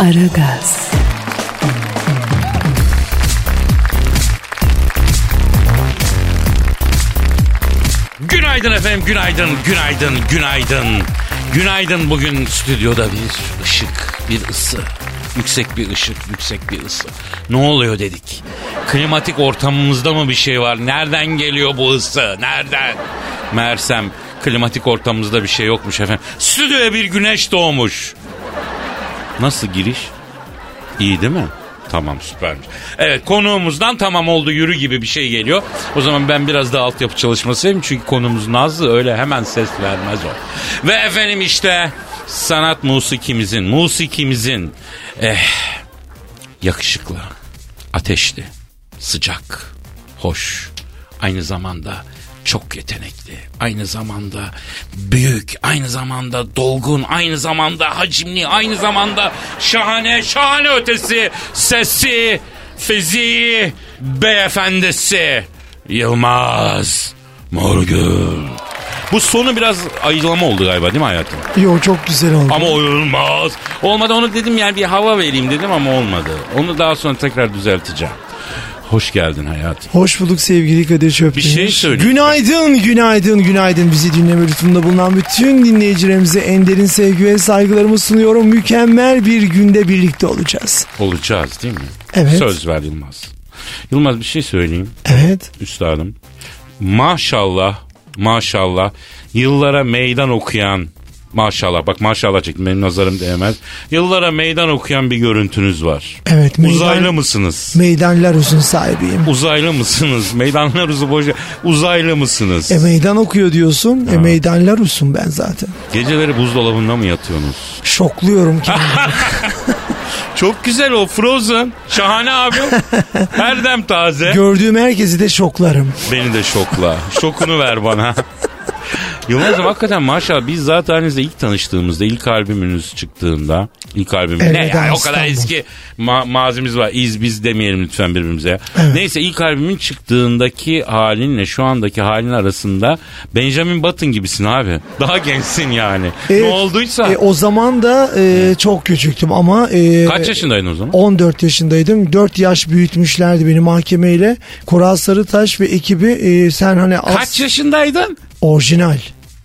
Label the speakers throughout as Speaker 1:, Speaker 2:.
Speaker 1: Aragaz,
Speaker 2: Günaydın efendim, günaydın, günaydın, günaydın. Günaydın bugün stüdyoda bir ışık, bir ısı. Yüksek bir ışık, yüksek bir ısı. Ne oluyor dedik. Klimatik ortamımızda mı bir şey var? Nereden geliyor bu ısı? Nereden? Mersem klimatik ortamımızda bir şey yokmuş efendim. Stüdyoya bir güneş doğmuş. Nasıl giriş? İyi değil mi? Tamam süpermiş. Evet konuğumuzdan tamam oldu yürü gibi bir şey geliyor. O zaman ben biraz daha altyapı çalışmasıyım. Çünkü konuğumuz Nazlı öyle hemen ses vermez o. Ve efendim işte sanat musikimizin, musikimizin eh, yakışıklı, ateşli, sıcak, hoş, aynı zamanda çok yetenekli, aynı zamanda büyük, aynı zamanda dolgun, aynı zamanda hacimli, aynı zamanda şahane, şahane ötesi, sesi, fiziği, beyefendisi Yılmaz Morgül. Bu sonu biraz ayılama oldu galiba değil mi hayatım?
Speaker 3: Yo çok güzel oldu.
Speaker 2: Ama olmaz. Olmadı onu dedim yani bir hava vereyim dedim ama olmadı. Onu daha sonra tekrar düzelteceğim. Hoş geldin hayatım.
Speaker 4: Hoş bulduk sevgili Kadir Çöptemir.
Speaker 2: Bir şey söyle.
Speaker 4: Günaydın, günaydın, günaydın. Bizi dinleme lütfunda bulunan bütün dinleyicilerimize en derin sevgi ve saygılarımı sunuyorum. Mükemmel bir günde birlikte olacağız.
Speaker 2: Olacağız değil mi?
Speaker 4: Evet.
Speaker 2: Söz ver Yılmaz. Yılmaz bir şey söyleyeyim
Speaker 4: Evet.
Speaker 2: üstadım. Maşallah maşallah yıllara meydan okuyan maşallah bak maşallah çektim benim nazarım değmez. Yıllara meydan okuyan bir görüntünüz var.
Speaker 4: Evet. meydan-
Speaker 2: Uzaylı mısınız?
Speaker 4: Meydanlar uzun sahibiyim.
Speaker 2: Uzaylı mısınız? Meydanlar uzun boş. Uzaylı mısınız?
Speaker 4: E meydan okuyor diyorsun. E meydanlar uzun ben zaten.
Speaker 2: Geceleri buzdolabında mı yatıyorsunuz?
Speaker 4: Şokluyorum kendimi.
Speaker 2: Çok güzel o Frozen. Şahane abi. Her dem taze.
Speaker 4: Gördüğüm herkesi de şoklarım.
Speaker 2: Beni de şokla. Şokunu ver bana. Yılmaz'ım hakikaten maşallah biz zaten ilk tanıştığımızda ilk albümünüz çıktığında ilk albümümüz
Speaker 4: Evet,
Speaker 2: ne ya o
Speaker 4: İstanbul.
Speaker 2: kadar eski ma- mazimiz var iz biz demeyelim lütfen birbirimize.
Speaker 4: Evet.
Speaker 2: Neyse ilk albümün çıktığındaki halinle şu andaki halin arasında Benjamin Button gibisin abi. Daha gençsin yani.
Speaker 4: E,
Speaker 2: ne olduysa.
Speaker 4: e, o zaman da e, çok küçüktüm ama... e,
Speaker 2: Kaç yaşındaydın o zaman?
Speaker 4: 14 yaşındaydım. 4 yaş büyütmüşlerdi beni mahkemeyle. Kural Sarıtaş ve ekibi e, sen hani as-
Speaker 2: Kaç yaşındaydın?
Speaker 4: orijinal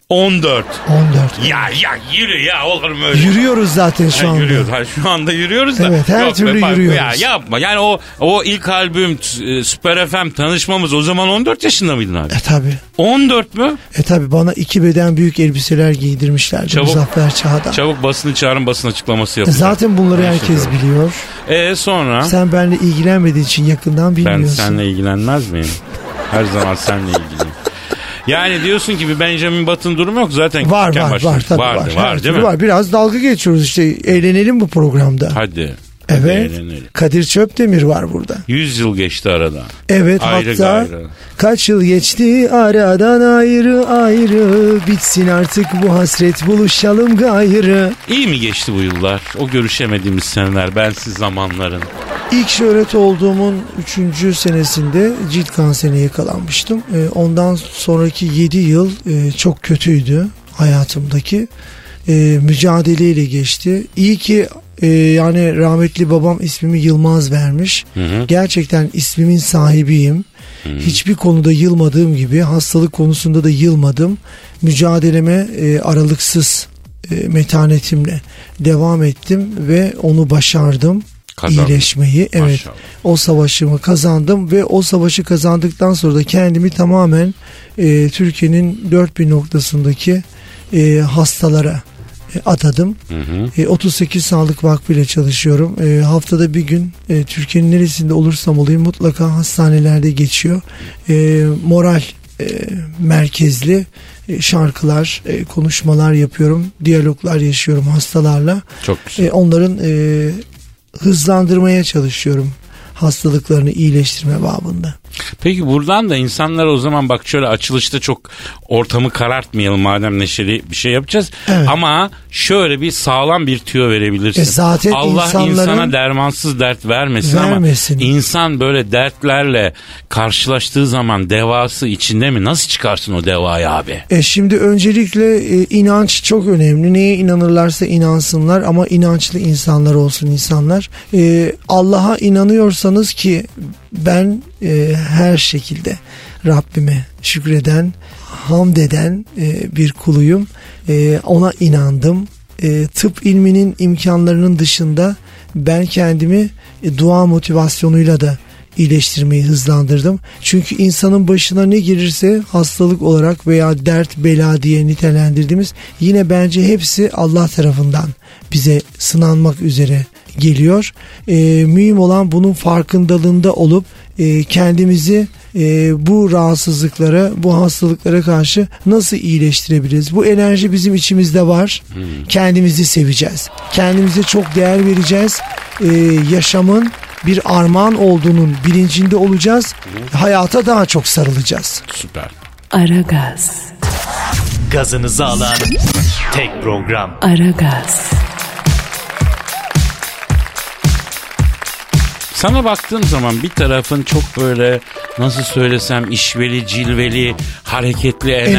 Speaker 2: 14.
Speaker 4: 14.
Speaker 2: Ya ya yürü ya olur mu öyle?
Speaker 4: Yürüyoruz zaten şu
Speaker 2: Ha,
Speaker 4: anda.
Speaker 2: yürüyoruz. Ha, şu anda yürüyoruz da.
Speaker 4: Evet, her
Speaker 2: Yok be,
Speaker 4: türlü
Speaker 2: bak,
Speaker 4: yürüyoruz.
Speaker 2: Ya yapma. Yani o o ilk albüm e, Süper FM tanışmamız o zaman 14 yaşında mıydın abi?
Speaker 4: E tabi.
Speaker 2: 14 mü?
Speaker 4: E tabi bana iki beden büyük elbiseler giydirmişlerdi
Speaker 2: Çabuk.
Speaker 4: Muzaffer Çağ'da.
Speaker 2: Çabuk basını çağırın basın
Speaker 4: E,
Speaker 2: açıklaması yapın.
Speaker 4: Zaten bunları
Speaker 2: Ben
Speaker 4: herkes
Speaker 2: söylüyorum.
Speaker 4: biliyor.
Speaker 2: E sonra
Speaker 4: Sen benimle ilgilenmediğin için yakından
Speaker 2: ben
Speaker 4: bilmiyorsun.
Speaker 2: seninle ilgilenmez miyim? Her zaman seninle ilgiliyim. Yani diyorsun ki bir Benjamin Button durumu yok zaten.
Speaker 4: Var
Speaker 2: küçükken
Speaker 4: var var
Speaker 2: başlamış.
Speaker 4: tabii var.
Speaker 2: Vardı,
Speaker 4: Her
Speaker 2: var değil
Speaker 4: türlü
Speaker 2: mi?
Speaker 4: Var. Biraz dalga geçiyoruz işte eğlenelim bu programda.
Speaker 2: Hadi.
Speaker 4: evet.
Speaker 2: Eğlenelim.
Speaker 4: Kadir Çöpdemir var burada.
Speaker 2: 100 yıl geçti aradan.
Speaker 4: Evet
Speaker 2: Ayrı
Speaker 4: hatta
Speaker 2: gayrı.
Speaker 4: kaç yıl geçti aradan ayrı ayrı bitsin artık bu hasret buluşalım gayrı.
Speaker 2: İyi mi geçti bu yıllar? O görüşemediğimiz seneler, bensiz zamanların.
Speaker 4: İlk şöhret olduğumun 3. senesinde cilt kanserine yakalanmıştım. Ee, Ondan sonraki 7 yıl e, çok kötüydü hayatımdaki. Ee, Mücadeleyle geçti. İyi ki e, yani rahmetli babam ismimi Yılmaz vermiş. Gerçekten ismimin sahibiyim. Hiçbir konuda yılmadığım gibi hastalık konusunda da yılmadım. Mücadeleme e, aralıksız e, metanetimle devam ettim ve onu başardım.
Speaker 2: Kazandın.
Speaker 4: İyileşmeyi evet.
Speaker 2: Maşallah.
Speaker 4: O savaşımı kazandım ve o savaşı kazandıktan sonra da kendimi tamamen e, Türkiye'nin dört bir noktasındaki e, hastalara e, atadım. E, 38 Sağlık Vakfı ile çalışıyorum. E, haftada bir gün e, Türkiye'nin neresinde olursam olayım mutlaka hastanelerde geçiyor. E, moral e, merkezli e, şarkılar, e, konuşmalar yapıyorum, diyaloglar yaşıyorum hastalarla.
Speaker 2: Çok güzel.
Speaker 4: E, onların e, hızlandırmaya çalışıyorum hastalıklarını iyileştirme babında.
Speaker 2: Peki buradan da insanlara o zaman bak şöyle açılışta çok ortamı karartmayalım madem neşeli bir şey yapacağız.
Speaker 4: Evet.
Speaker 2: Ama şöyle bir sağlam bir tüyo verebilirsin.
Speaker 4: E zaten
Speaker 2: Allah
Speaker 4: insanların-
Speaker 2: insana dermansız dert vermesin,
Speaker 4: Vermesin.
Speaker 2: ama insan böyle dertlerle karşılaştığı zaman devası içinde mi? Nasıl çıkarsın o devayı abi?
Speaker 4: E şimdi öncelikle e, inanç çok önemli. Neye inanırlarsa inansınlar ama inançlı insanlar olsun insanlar. E, Allah'a inanıyorsanız ki ben e, her şekilde Rabbime şükreden, hamd eden e, bir kuluyum. E, ona inandım. E, tıp ilminin imkanlarının dışında ben kendimi e, dua motivasyonuyla da iyileştirmeyi hızlandırdım. Çünkü insanın başına ne girirse hastalık olarak veya dert bela diye nitelendirdiğimiz yine bence hepsi Allah tarafından bize sınanmak üzere geliyor. Ee, mühim olan bunun farkındalığında olup e, kendimizi e, bu rahatsızlıklara, bu hastalıklara karşı nasıl iyileştirebiliriz? Bu enerji bizim içimizde var. Kendimizi seveceğiz. Kendimize çok değer vereceğiz. Ee, yaşamın bir armağan olduğunun bilincinde olacağız. Hayata daha çok sarılacağız.
Speaker 2: Süper.
Speaker 1: Aragaz,
Speaker 5: Gazınızı alan tek program.
Speaker 1: Aragaz,
Speaker 2: Sana baktığım zaman bir tarafın çok böyle nasıl söylesem işveli, cilveli, hareketli, enerjik,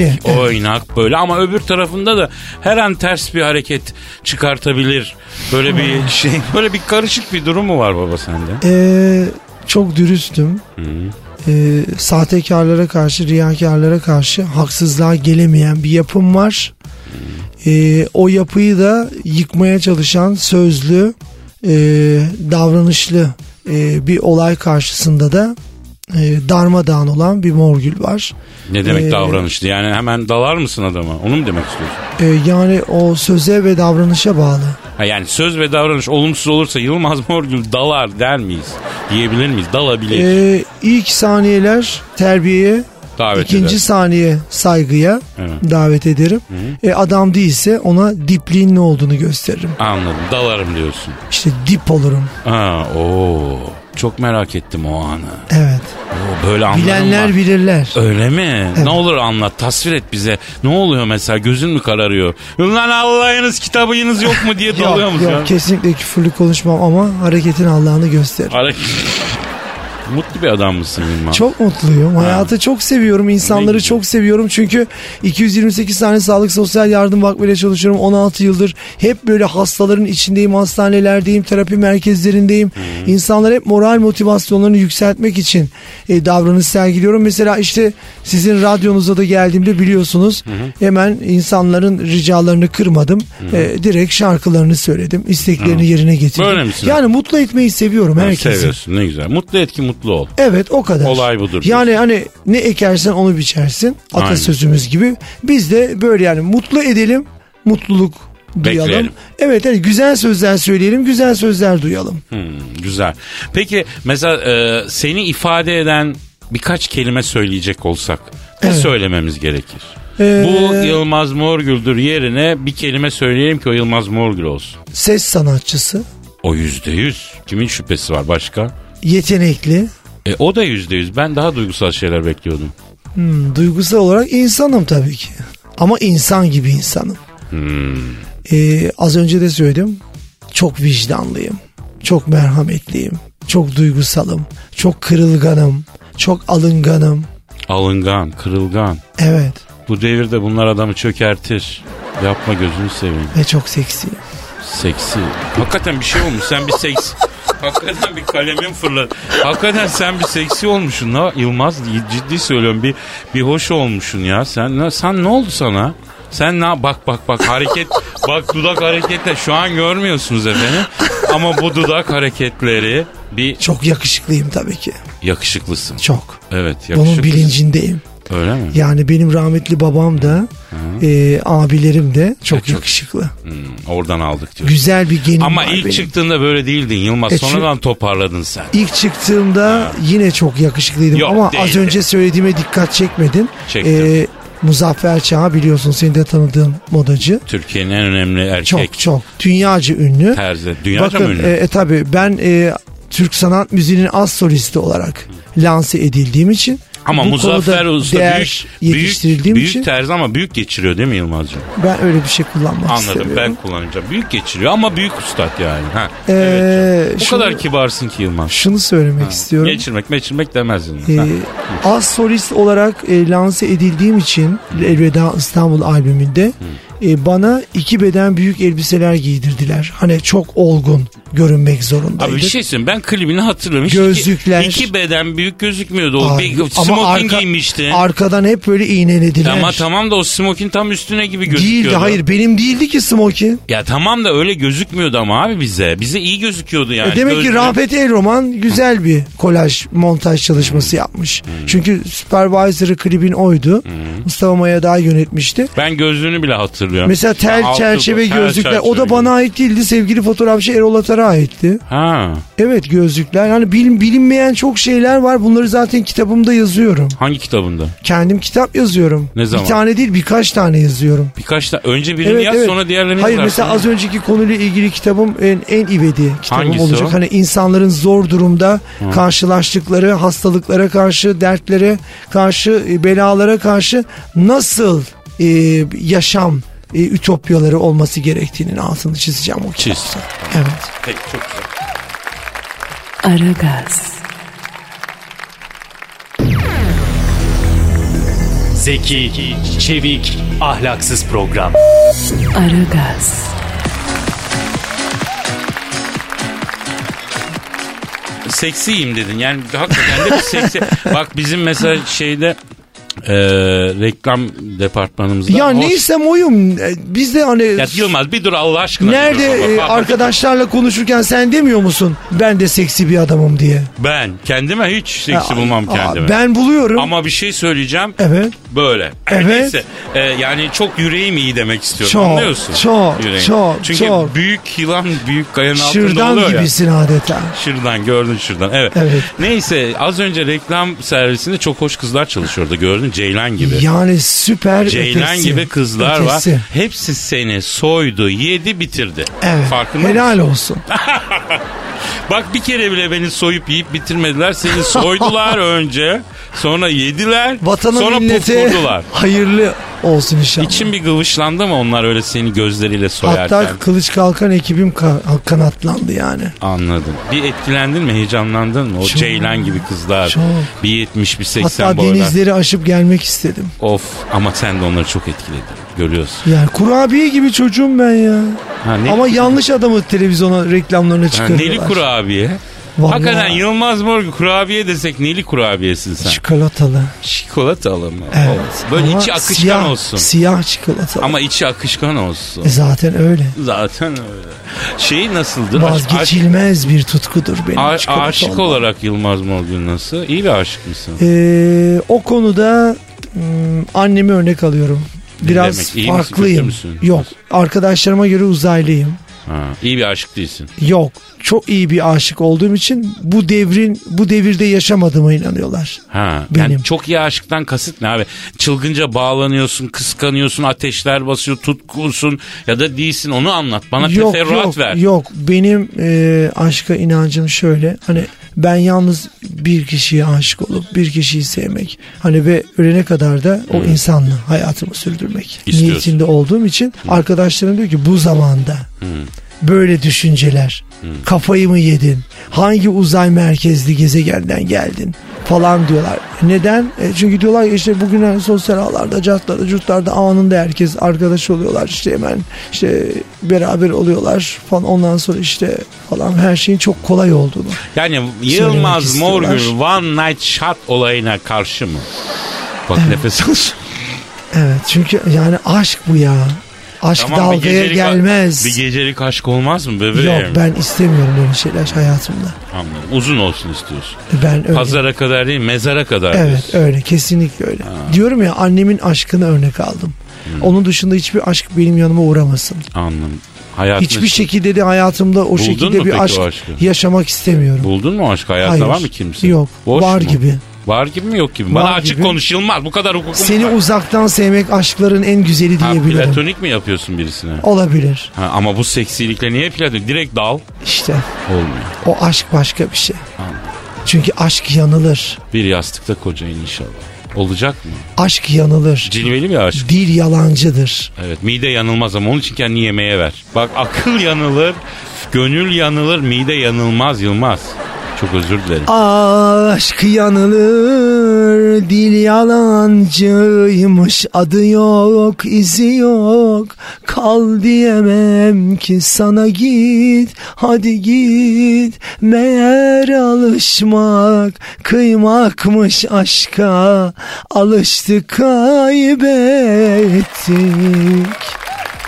Speaker 4: Enerjili, evet.
Speaker 2: oynak böyle ama öbür tarafında da her an ters bir hareket çıkartabilir. Böyle bir şey, böyle bir karışık bir durumu var baba sende.
Speaker 4: Ee, çok dürüstüm. Ee, sahtekarlara karşı, riyakarlara karşı haksızlığa gelemeyen bir yapım var. Ee, o yapıyı da yıkmaya çalışan sözlü, e, davranışlı e, bir olay karşısında da e, darmadağın olan bir morgül var.
Speaker 2: Ne demek
Speaker 4: Ee,
Speaker 2: davranışlı? Yani hemen dalar mısın adama? Onu mu demek istiyorsun?
Speaker 4: Ee, yani o söze ve davranışa bağlı.
Speaker 2: Ha yani söz ve davranış olumsuz olursa Yılmaz Morgül dalar der miyiz? Diyebilir miyiz? Dalabilir.
Speaker 4: Ee, ilk saniyeler terbiyeye,
Speaker 2: Davet
Speaker 4: ikinci
Speaker 2: eder.
Speaker 4: saniye saygıya
Speaker 2: Evet.
Speaker 4: davet ederim. E, adam değilse ona dipliğin ne olduğunu gösteririm.
Speaker 2: Anladım. Dalarım diyorsun.
Speaker 4: İşte dip olurum.
Speaker 2: Ha, oo. Çok merak ettim o anı.
Speaker 4: Evet.
Speaker 2: Oo, böyle anlarım
Speaker 4: Bilenler
Speaker 2: var.
Speaker 4: bilirler.
Speaker 2: Öyle mi? Ne olur anlat, tasvir et bize. Ne oluyor mesela? Gözün mü kararıyor? Lan Allah'ınız kitabınız yok mu diye dalıyor
Speaker 4: Yok,
Speaker 2: musun? ya?
Speaker 4: yok kesinlikle küfürlü konuşmam ama hareketin Allah'ını gösteririm.
Speaker 2: Ara- Mutlu bir adam mısın Yılmaz?
Speaker 4: Çok mutluyum. Hayatı çok seviyorum.
Speaker 2: Ne
Speaker 4: insanları
Speaker 2: güzel.
Speaker 4: çok seviyorum. Çünkü 228 tane Sağlık Sosyal Yardım Vakfı'yla çalışıyorum. 16 yıldır hep böyle hastaların içindeyim. Hastanelerdeyim. Terapi merkezlerindeyim. İnsanlar hep moral motivasyonlarını yükseltmek için e, davranış sergiliyorum. Mesela işte sizin radyonuza da geldiğimde biliyorsunuz hemen insanların ricalarını kırmadım. E, direkt şarkılarını söyledim. isteklerini yerine getirdim.
Speaker 2: Böyle misin?
Speaker 4: Yani mutlu etmeyi seviyorum
Speaker 2: Ha,
Speaker 4: herkesi.
Speaker 2: Seviyorsun ne güzel. Mutlu et ki mutlu ol.
Speaker 4: Evet o kadar.
Speaker 2: Olay budur.
Speaker 4: Yani hani ne ekersen onu biçersin.
Speaker 2: Aynen.
Speaker 4: Atasözümüz gibi. Biz de böyle yani mutlu edelim, mutluluk duyalım.
Speaker 2: Bekleyelim.
Speaker 4: Evet hani güzel sözler söyleyelim, güzel sözler duyalım.
Speaker 2: Hmm, güzel. Peki mesela e, seni ifade eden birkaç kelime söyleyecek olsak ne
Speaker 4: Evet.
Speaker 2: söylememiz gerekir?
Speaker 4: Ee,
Speaker 2: Bu Yılmaz Morgül'dür yerine bir kelime söyleyelim ki o Yılmaz Morgül olsun.
Speaker 4: Ses sanatçısı,
Speaker 2: O yüzde yüz. Kimin şüphesi var başka?
Speaker 4: yetenekli,
Speaker 2: E, o da yüzde yüz. Ben daha duygusal şeyler bekliyordum.
Speaker 4: hmm, duygusal olarak insanım tabii ki. Ama insan gibi insanım.
Speaker 2: Hmm.
Speaker 4: Ee, az önce de söyledim. Çok vicdanlıyım. Çok merhametliyim. Çok duygusalım. Çok kırılganım. Çok alınganım.
Speaker 2: Alıngan, kırılgan.
Speaker 4: Evet.
Speaker 2: Bu devirde bunlar adamı çökertir. Yapma gözünü seveyim.
Speaker 4: Ve çok seksiyim.
Speaker 2: Seksi. Hakikaten bir şey olmuş. Sen bir seks... Hakikaten bir kalemim fırladı. Hakikaten sen bir seksi olmuşsun. La Yılmaz ciddi söylüyorum. Bir bir hoş olmuşsun ya. Sen ne, sen ne oldu sana? Sen ne bak bak bak hareket bak dudak hareketle şu an görmüyorsunuz efendim. Ama bu dudak hareketleri bir
Speaker 4: Çok yakışıklıyım tabii ki.
Speaker 2: yakışıklısın.
Speaker 4: Çok.
Speaker 2: Evet
Speaker 4: Bunun
Speaker 2: yakışıklısın.
Speaker 4: bilincindeyim.
Speaker 2: Öyle mi?
Speaker 4: Yani benim rahmetli babam da e, abilerim de çok
Speaker 2: çok-
Speaker 4: yakışıklı.
Speaker 2: Hmm, oradan aldık diyor.
Speaker 4: Güzel bir genim
Speaker 2: Ama
Speaker 4: var
Speaker 2: ilk
Speaker 4: benim.
Speaker 2: çıktığında böyle değildin Yılmaz.
Speaker 4: E, çünkü-
Speaker 2: Sonradan toparladın sen.
Speaker 4: İlk çıktığımda yine çok yakışıklıydım
Speaker 2: Yok,
Speaker 4: ama az
Speaker 2: değildi.
Speaker 4: önce söylediğime dikkat çekmedin. E,
Speaker 2: Çektim.
Speaker 4: Muzaffer Çağ biliyorsun seni de tanıdığım modacı.
Speaker 2: Türkiye'nin en önemli erkek
Speaker 4: Çok çok dünyaca ünlü.
Speaker 2: terzi. Dünyaca mı ünlü?
Speaker 4: e, e, tabii ben e, Türk sanat müziğinin az solisti olarak lanse edildiğim için
Speaker 2: ama
Speaker 4: bu
Speaker 2: Muzaffer
Speaker 4: konuda
Speaker 2: Usta
Speaker 4: değer
Speaker 2: büyük, büyük,
Speaker 4: yetiştirildiğim
Speaker 2: büyük
Speaker 4: için
Speaker 2: terzi ama büyük geçiriyor değil mi Yılmaz'cığım?
Speaker 4: ben öyle bir şey kullanmak
Speaker 2: Anladım
Speaker 4: istemiyorum.
Speaker 2: ben kullanacağım. Büyük geçiriyor ama büyük ustad yani. Ha.
Speaker 4: Ee,
Speaker 2: evet. canım. O
Speaker 4: şunu-
Speaker 2: kadar kibarsın ki Yılmaz.
Speaker 4: Şunu söylemek istiyorum.
Speaker 2: Geçirmek meçirmek demezdin.
Speaker 4: Ee,
Speaker 2: Ha.
Speaker 4: az solist olarak e, lanse edildiğim için Elveda İstanbul albümünde e, bana iki beden büyük elbiseler giydirdiler. Hani çok olgun görünmek zorundaydık.
Speaker 2: Abi bir şey- şeysin ben klibini hatırlamış.
Speaker 4: Gözlükler.
Speaker 2: İki, iki beden büyük gözükmüyordu. O
Speaker 4: Abi,
Speaker 2: bir
Speaker 4: ama
Speaker 2: smoking
Speaker 4: arka-
Speaker 2: giymişti.
Speaker 4: Arkadan hep böyle iğnelediler.
Speaker 2: Ama tamam da o smoking tam üstüne gibi gözüküyordu.
Speaker 4: Değildi hayır benim değildi ki E, smoking.
Speaker 2: Ya tamam da öyle gözükmüyordu ama abi bize. Bize iyi gözüküyordu yani.
Speaker 4: E Demek
Speaker 2: Gözlük-
Speaker 4: ki Rafet Roman güzel bir kolaj montaj çalışması yapmış.
Speaker 2: Hmm.
Speaker 4: Çünkü Supervisor'ı klibin oydu. Mustafa Maya daha yönetmişti.
Speaker 2: Ben gözlüğünü bile hatırlıyorum.
Speaker 4: Mesela tel
Speaker 2: Altı-
Speaker 4: çerçeve
Speaker 2: tel
Speaker 4: gözlükler o da
Speaker 2: çerçeve
Speaker 4: bana ait değildi. Sevgili fotoğrafçı Erol Atar'a aitti.
Speaker 2: Ha.
Speaker 4: Evet gözlükler. Hani bilin, bilinmeyen çok şeyler var. Bunları zaten kitabımda yazıyorum.
Speaker 2: Hangi kitabında?
Speaker 4: Kendim kitap yazıyorum.
Speaker 2: Ne zaman?
Speaker 4: Bir tane değil birkaç tane yazıyorum.
Speaker 2: Birkaç tane. Önce birini yaz sonra diğerlerini
Speaker 4: Hayır
Speaker 2: yazarsın.
Speaker 4: mesela az önceki konuyla ilgili kitabım en, en ivedi kitabım
Speaker 2: Hangisi
Speaker 4: olacak.
Speaker 2: o?
Speaker 4: Hani insanların zor durumda karşılaştıkları hastalıklara karşı, dertlere karşı, e, belalara karşı nasıl e, yaşam e, ütopyaları olması gerektiğinin altını çizeceğim o kitapta.
Speaker 2: Çiz.
Speaker 4: Evet.
Speaker 2: Peki, çok güzel.
Speaker 1: Aragaz,
Speaker 5: Zeki, çevik, ahlaksız program.
Speaker 1: Aragaz,
Speaker 2: Seksiyim dedin. Yani hakikaten de bir seksi. Bak bizim mesela şeyde e, reklam departmanımızda.
Speaker 4: Ya
Speaker 2: Hoş-
Speaker 4: neysem oyum. E, Biz de hani
Speaker 2: Ya Yılmaz bir dur Allah aşkına.
Speaker 4: nerede
Speaker 2: Bir dur.
Speaker 4: e,
Speaker 2: Bak, bak,
Speaker 4: arkadaşlarla konuşurken sen demiyor musun ben de seksi bir adamım diye.
Speaker 2: Ben kendime hiç seksi
Speaker 4: Ya,
Speaker 2: bulmam
Speaker 4: aa,
Speaker 2: kendime.
Speaker 4: Ben buluyorum.
Speaker 2: Ama bir şey söyleyeceğim.
Speaker 4: Evet.
Speaker 2: Böyle.
Speaker 4: Evet.
Speaker 2: Neyse. Ee, yani çok yüreğim iyi demek istiyorum.
Speaker 4: Çok,
Speaker 2: Anlıyorsun.
Speaker 4: çok,
Speaker 2: Yüreğim.
Speaker 4: çok,
Speaker 2: Çünkü
Speaker 4: çok.
Speaker 2: büyük yılan büyük kayanın altında
Speaker 4: Şırdan
Speaker 2: oluyor ya.
Speaker 4: gibisin adeta.
Speaker 2: Şırdan gördün şırdan. Evet.
Speaker 4: Evet.
Speaker 2: Neyse az önce reklam servisinde çok hoş kızlar çalışıyordu. Gördün Ceylan gibi.
Speaker 4: Yani süper
Speaker 2: Ceylan
Speaker 4: ötesi.
Speaker 2: gibi kızlar
Speaker 4: ötesi.
Speaker 2: var. Hepsi seni soydu, yedi, bitirdi.
Speaker 4: Evet.
Speaker 2: Farkında mısın?
Speaker 4: Helal olsun.
Speaker 2: Bak bir kere bile beni soyup yiyip bitirmediler. Seni soydular önce. Sonra yediler.
Speaker 4: Vatanın
Speaker 2: sonra
Speaker 4: millete
Speaker 2: pufurdular.
Speaker 4: hayırlı olsun inşallah.
Speaker 2: İçim bir gıvışlandı mı onlar öyle seni gözleriyle soyarken?
Speaker 4: Hatta kılıç kalkan ekibim ka- kanatlandı yani.
Speaker 2: Anladım. Bir etkilendin mi, heyecanlandın mı? O
Speaker 4: Çok.
Speaker 2: Ceylan gibi kızlar.
Speaker 4: Çok.
Speaker 2: Bir 70, bir 80
Speaker 4: Hatta
Speaker 2: boylar.
Speaker 4: denizleri aşıp gelmek istedim.
Speaker 2: Of ama sen de onları çok etkiledin. Görüyorsun.
Speaker 4: Yani kurabiye gibi çocuğum ben ya.
Speaker 2: Ha, ne-
Speaker 4: Ama yanlış adamı televizyona reklamlarına
Speaker 2: Ha,
Speaker 4: çıkarıyorlar.
Speaker 2: neli kurabiye.
Speaker 4: Vallahi.
Speaker 2: Hakikaten Yılmaz Morgu kurabiye desek neli kurabiyesin sen?
Speaker 4: Çikolatalı.
Speaker 2: Çikolata alın mı?
Speaker 4: Evet.
Speaker 2: Of. Böyle
Speaker 4: Ama
Speaker 2: içi akışkan
Speaker 4: siyah,
Speaker 2: olsun.
Speaker 4: Siyah çikolatalı.
Speaker 2: Ama içi akışkan olsun.
Speaker 4: E zaten öyle.
Speaker 2: Zaten öyle. Şey nasıldır? Aş- aş-
Speaker 4: Vazgeçilmez bir tutkudur benim
Speaker 2: a-
Speaker 4: çikolata
Speaker 2: aşık
Speaker 4: olmak.
Speaker 2: olarak Yılmaz Morgül nasıl? İyi bir aşık mısın?
Speaker 4: Ee, o konuda mm, annemi örnek alıyorum. Biraz
Speaker 2: demek? İyi misin,
Speaker 4: farklıyım.
Speaker 2: kötü müsün?
Speaker 4: Yok. Arkadaşlarıma göre uzaylıyım.
Speaker 2: Ha, iyi bir aşık değilsin.
Speaker 4: Yok. Çok iyi bir aşık olduğum için bu devrin bu devirde yaşamadığıma inanıyorlar.
Speaker 2: Ha,
Speaker 4: Benim.
Speaker 2: yani çok iyi aşıktan kasıt ne abi? Çılgınca bağlanıyorsun, kıskanıyorsun, ateşler basıyor, tutkulusun ya da değilsin onu anlat. Bana
Speaker 4: yok
Speaker 2: teferruat
Speaker 4: yok
Speaker 2: ver.
Speaker 4: yok. Benim e, aşka inancım şöyle. Hani ben yalnız bir kişiye aşık olup bir kişiyi sevmek. Hani ve ölene kadar da o insanla hayatımı sürdürmek
Speaker 2: Hmm. İstiyorsun. Hmm.
Speaker 4: niyetinde olduğum için arkadaşlarım diyor ki bu zamanda böyle düşünceler.
Speaker 2: Hmm.
Speaker 4: Kafayı mı yedin? Hangi uzay merkezli gezegenden geldin? Falan diyorlar. Neden? E, çünkü diyorlar ki işte bugün hani sosyal ağlarda, cartlarda, curtlarda anında herkes arkadaş oluyorlar. İşte hemen işte beraber oluyorlar falan. Ondan sonra işte falan her şeyin çok kolay olduğunu.
Speaker 2: Yani
Speaker 4: Söylemek
Speaker 2: Yılmaz
Speaker 4: istiyorlar.
Speaker 2: Morgül one night shot olayına karşı mı? Bak nefes alsın.
Speaker 4: Evet çünkü yani aşk bu ya. Aşk
Speaker 2: Tamam, bir
Speaker 4: dalgaya
Speaker 2: gecelik-
Speaker 4: gelmez.
Speaker 2: Bir gecelik aşk olmaz mı bebeğim?
Speaker 4: Yok ben istemiyorum böyle şeyler hayatımda.
Speaker 2: Anladım. Uzun olsun istiyorsun.
Speaker 4: Ben öyle.
Speaker 2: Pazara kadar değil mezara kadar.
Speaker 4: Evet
Speaker 2: diyorsun.
Speaker 4: öyle kesinlikle öyle. Diyorum ya annemin aşkını örnek aldım.
Speaker 2: Hmm.
Speaker 4: Onun dışında hiçbir aşk benim yanıma uğramasın.
Speaker 2: Anladım. Hayatını
Speaker 4: Hiçbir şekilde de hayatımda o
Speaker 2: mu
Speaker 4: şekilde
Speaker 2: peki o
Speaker 4: bir aşk
Speaker 2: aşkı?
Speaker 4: yaşamak istemiyorum.
Speaker 2: Buldun mu aşk hayatında
Speaker 4: Hayır.
Speaker 2: var mı kimse?
Speaker 4: Yok.
Speaker 2: Boş
Speaker 4: var
Speaker 2: mu?
Speaker 4: gibi.
Speaker 2: Var gibi mi yok gibi mi? Bana
Speaker 4: Var
Speaker 2: açık
Speaker 4: gibi.
Speaker 2: konuşulmaz. Bu kadar hukukum
Speaker 4: Seni
Speaker 2: var.
Speaker 4: uzaktan sevmek aşkların en güzeli
Speaker 2: Ha,
Speaker 4: diyebilirim.
Speaker 2: platonik mi yapıyorsun birisine?
Speaker 4: Olabilir.
Speaker 2: Ha, ama bu seksilikle niye platonik? Direkt dal.
Speaker 4: İşte
Speaker 2: Olmuyor.
Speaker 4: o aşk başka bir şey. Çünkü aşk yanılır.
Speaker 2: Bir yastıkta kocayın inşallah. Olacak mı?
Speaker 4: Aşk yanılır.
Speaker 2: Cilveli mi aşk?
Speaker 4: Dil yalancıdır.
Speaker 2: Evet mide yanılmaz ama onun için kendini yemeğe ver. Bak akıl yanılır, gönül yanılır, mide yanılmaz Yılmaz. Çok özür dilerim.
Speaker 4: Aşk yanılır, dil yalancıymış, adı yok, izi yok. Kal diyemem ki sana git, hadi git. Meğer alışmak, kıymakmış aşka, alıştık kaybettik.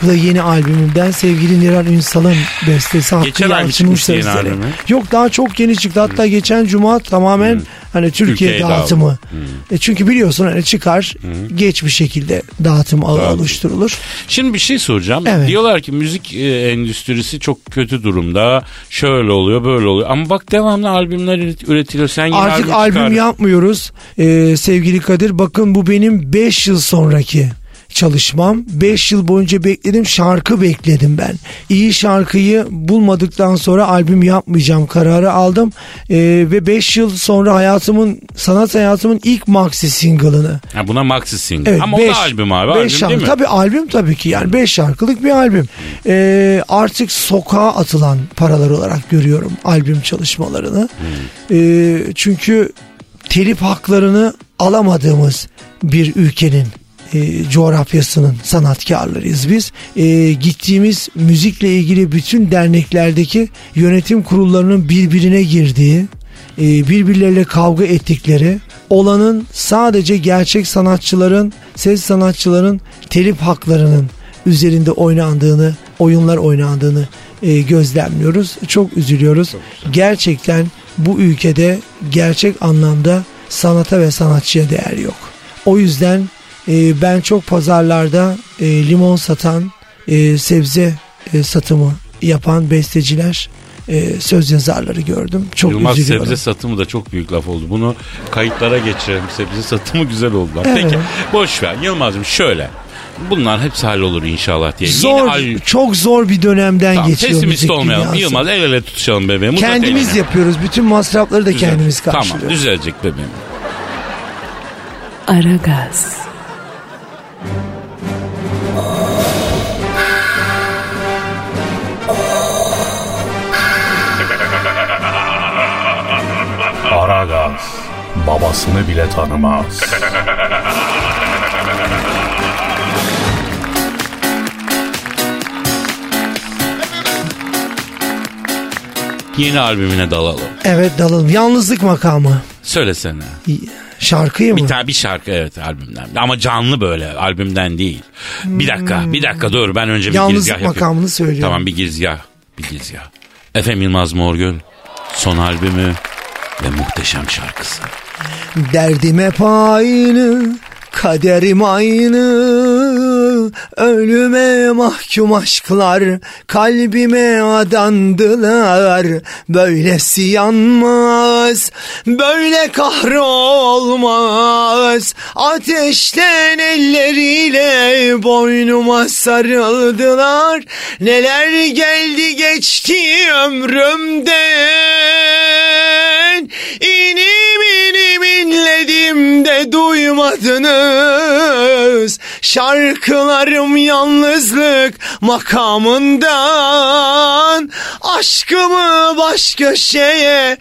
Speaker 4: Bu da yeni albümümden sevgili Niran Ünsal'ın bestesi Hakkı
Speaker 2: Geçen ay mı
Speaker 4: Yalçın'ın
Speaker 2: çıkmıştı yeni
Speaker 4: sözleri.
Speaker 2: albümü?
Speaker 4: Yok daha çok yeni çıktı. Hatta
Speaker 2: Hmm.
Speaker 4: geçen cuma tamamen hani Türkiye,
Speaker 2: Türkiye
Speaker 4: dağıtımı.
Speaker 2: Hmm.
Speaker 4: E çünkü biliyorsun hani çıkar geç bir şekilde dağıtım ağı
Speaker 2: Dağıtım.
Speaker 4: oluşturulur.
Speaker 2: Şimdi bir şey soracağım.
Speaker 4: Evet.
Speaker 2: Diyorlar ki müzik e, endüstrisi çok kötü durumda. Şöyle oluyor, böyle oluyor. Ama bak devamlı albümler üret- üretiliyor. Sen yeni
Speaker 4: Artık albüm
Speaker 2: çıkar.
Speaker 4: yapmıyoruz. E, sevgili Kadir bakın bu benim 5 yıl sonraki çalışmam. 5 yıl boyunca bekledim şarkı bekledim ben. İyi şarkıyı bulmadıktan sonra albüm yapmayacağım kararı aldım. E, ve 5 yıl sonra hayatımın sanat hayatımın ilk maxi single'ını
Speaker 2: Ha, buna maxi single. Ama o
Speaker 4: beş-
Speaker 2: da albüm abi.
Speaker 4: beş
Speaker 2: albüm
Speaker 4: şarkı,
Speaker 2: değil mi?
Speaker 4: Tabii albüm tabii ki yani 5 şarkılık bir albüm. Ee, artık sokağa atılan paralar olarak görüyorum albüm çalışmalarını.
Speaker 2: Hmm.
Speaker 4: Ee, çünkü telif haklarını alamadığımız bir ülkenin e, coğrafyasının sanatkarlarıyız biz. Ee, gittiğimiz müzikle ilgili bütün derneklerdeki yönetim kurullarının birbirine girdiği, e, birbirleriyle kavga ettikleri olanın sadece gerçek sanatçıların, ses sanatçıların telif haklarının üzerinde oynandığını, oyunlar oynandığını e, gözlemliyoruz. Çok üzülüyoruz. Gerçekten bu ülkede gerçek anlamda sanata ve sanatçıya değer yok. O yüzden e, ben çok pazarlarda e, limon satan, e, sebze e, satımı yapan besteciler, e, söz yazarları gördüm. Çok
Speaker 2: Yılmaz
Speaker 4: üzülüyorum.
Speaker 2: sebze satımı da çok büyük laf oldu. Bunu kayıtlara geçirelim. Sebze satımı güzel oldu. bak.
Speaker 4: Evet.
Speaker 2: Peki boş ver Yılmaz'ım şöyle. Bunlar hepsi hallolur inşallah diye. Yeni
Speaker 4: Zor,
Speaker 2: al-
Speaker 4: çok zor bir dönemden
Speaker 2: Tamam,
Speaker 4: geçiyor
Speaker 2: pesimist
Speaker 4: müzik
Speaker 2: olmayalım.
Speaker 4: dünyası.
Speaker 2: Yılmaz el ele tutuşalım bebeğim. Uzat
Speaker 4: Kendimiz
Speaker 2: elini.
Speaker 4: yapıyoruz. Bütün masrafları da
Speaker 2: Düzel-
Speaker 4: kendimiz karşılıyoruz.
Speaker 2: Tamam düzelecek bebeğim.
Speaker 1: Aragaz,
Speaker 6: Aragaz babasını bile tanımaz.
Speaker 2: Yeni albümüne dalalım.
Speaker 4: Evet dalalım. Yalnızlık makamı.
Speaker 2: Söylesene.
Speaker 4: Şarkıyı mı?
Speaker 2: Bir tane bir şarkı evet albümden. Ama canlı böyle albümden değil. Bir dakika bir dakika dur ben önce bir
Speaker 4: Yalnızlık
Speaker 2: girizgah yapayım.
Speaker 4: makamını söylüyorum.
Speaker 2: Tamam bir girizgah. Bir girizgah. Efem Yılmaz Morgül son albümü ve muhteşem şarkısı.
Speaker 4: Derdim hep aynı, kaderim aynı. Ölüme mahkum aşklar, kalbime adandılar. Böylesi yanmaz, böyle kahrolmaz. Ateşten elleriyle boynuma sarıldılar. Neler geldi geçti ömrümden. İnim inim inledim de duymadınız Şarkılarım yalnızlık makamından Aşkımı başka şeye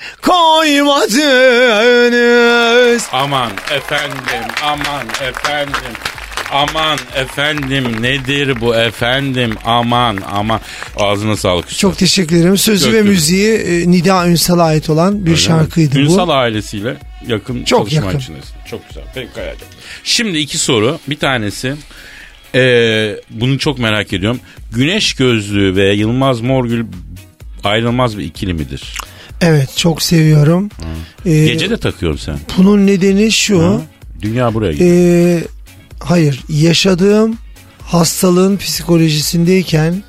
Speaker 4: koymadınız
Speaker 2: Aman efendim, aman efendim. Aman efendim nedir bu efendim aman aman ağzına sağlık üstad.
Speaker 4: Çok teşekkür ederim. Sözü
Speaker 2: Çok
Speaker 4: ve
Speaker 2: güzel.
Speaker 4: müziği e, Nida Ünsal'a ait olan bir şarkıydı bu.
Speaker 2: Ünsal ailesiyle yakın
Speaker 4: Çok
Speaker 2: çalışma
Speaker 4: yakın.
Speaker 2: içindesin. Çok güzel. Peki Şimdi iki soru. Bir tanesi Ee, bunu çok merak ediyorum. Güneş gözlüğü ve Yılmaz Morgül ayrılmaz bir ikili midir?
Speaker 4: Evet çok seviyorum. Ee,
Speaker 2: Hmm. Gece de takıyorum sen.
Speaker 4: Bunun nedeni şu.
Speaker 2: Dünya buraya gidiyor.
Speaker 4: Ee, hayır yaşadığım hastalığın psikolojisindeyken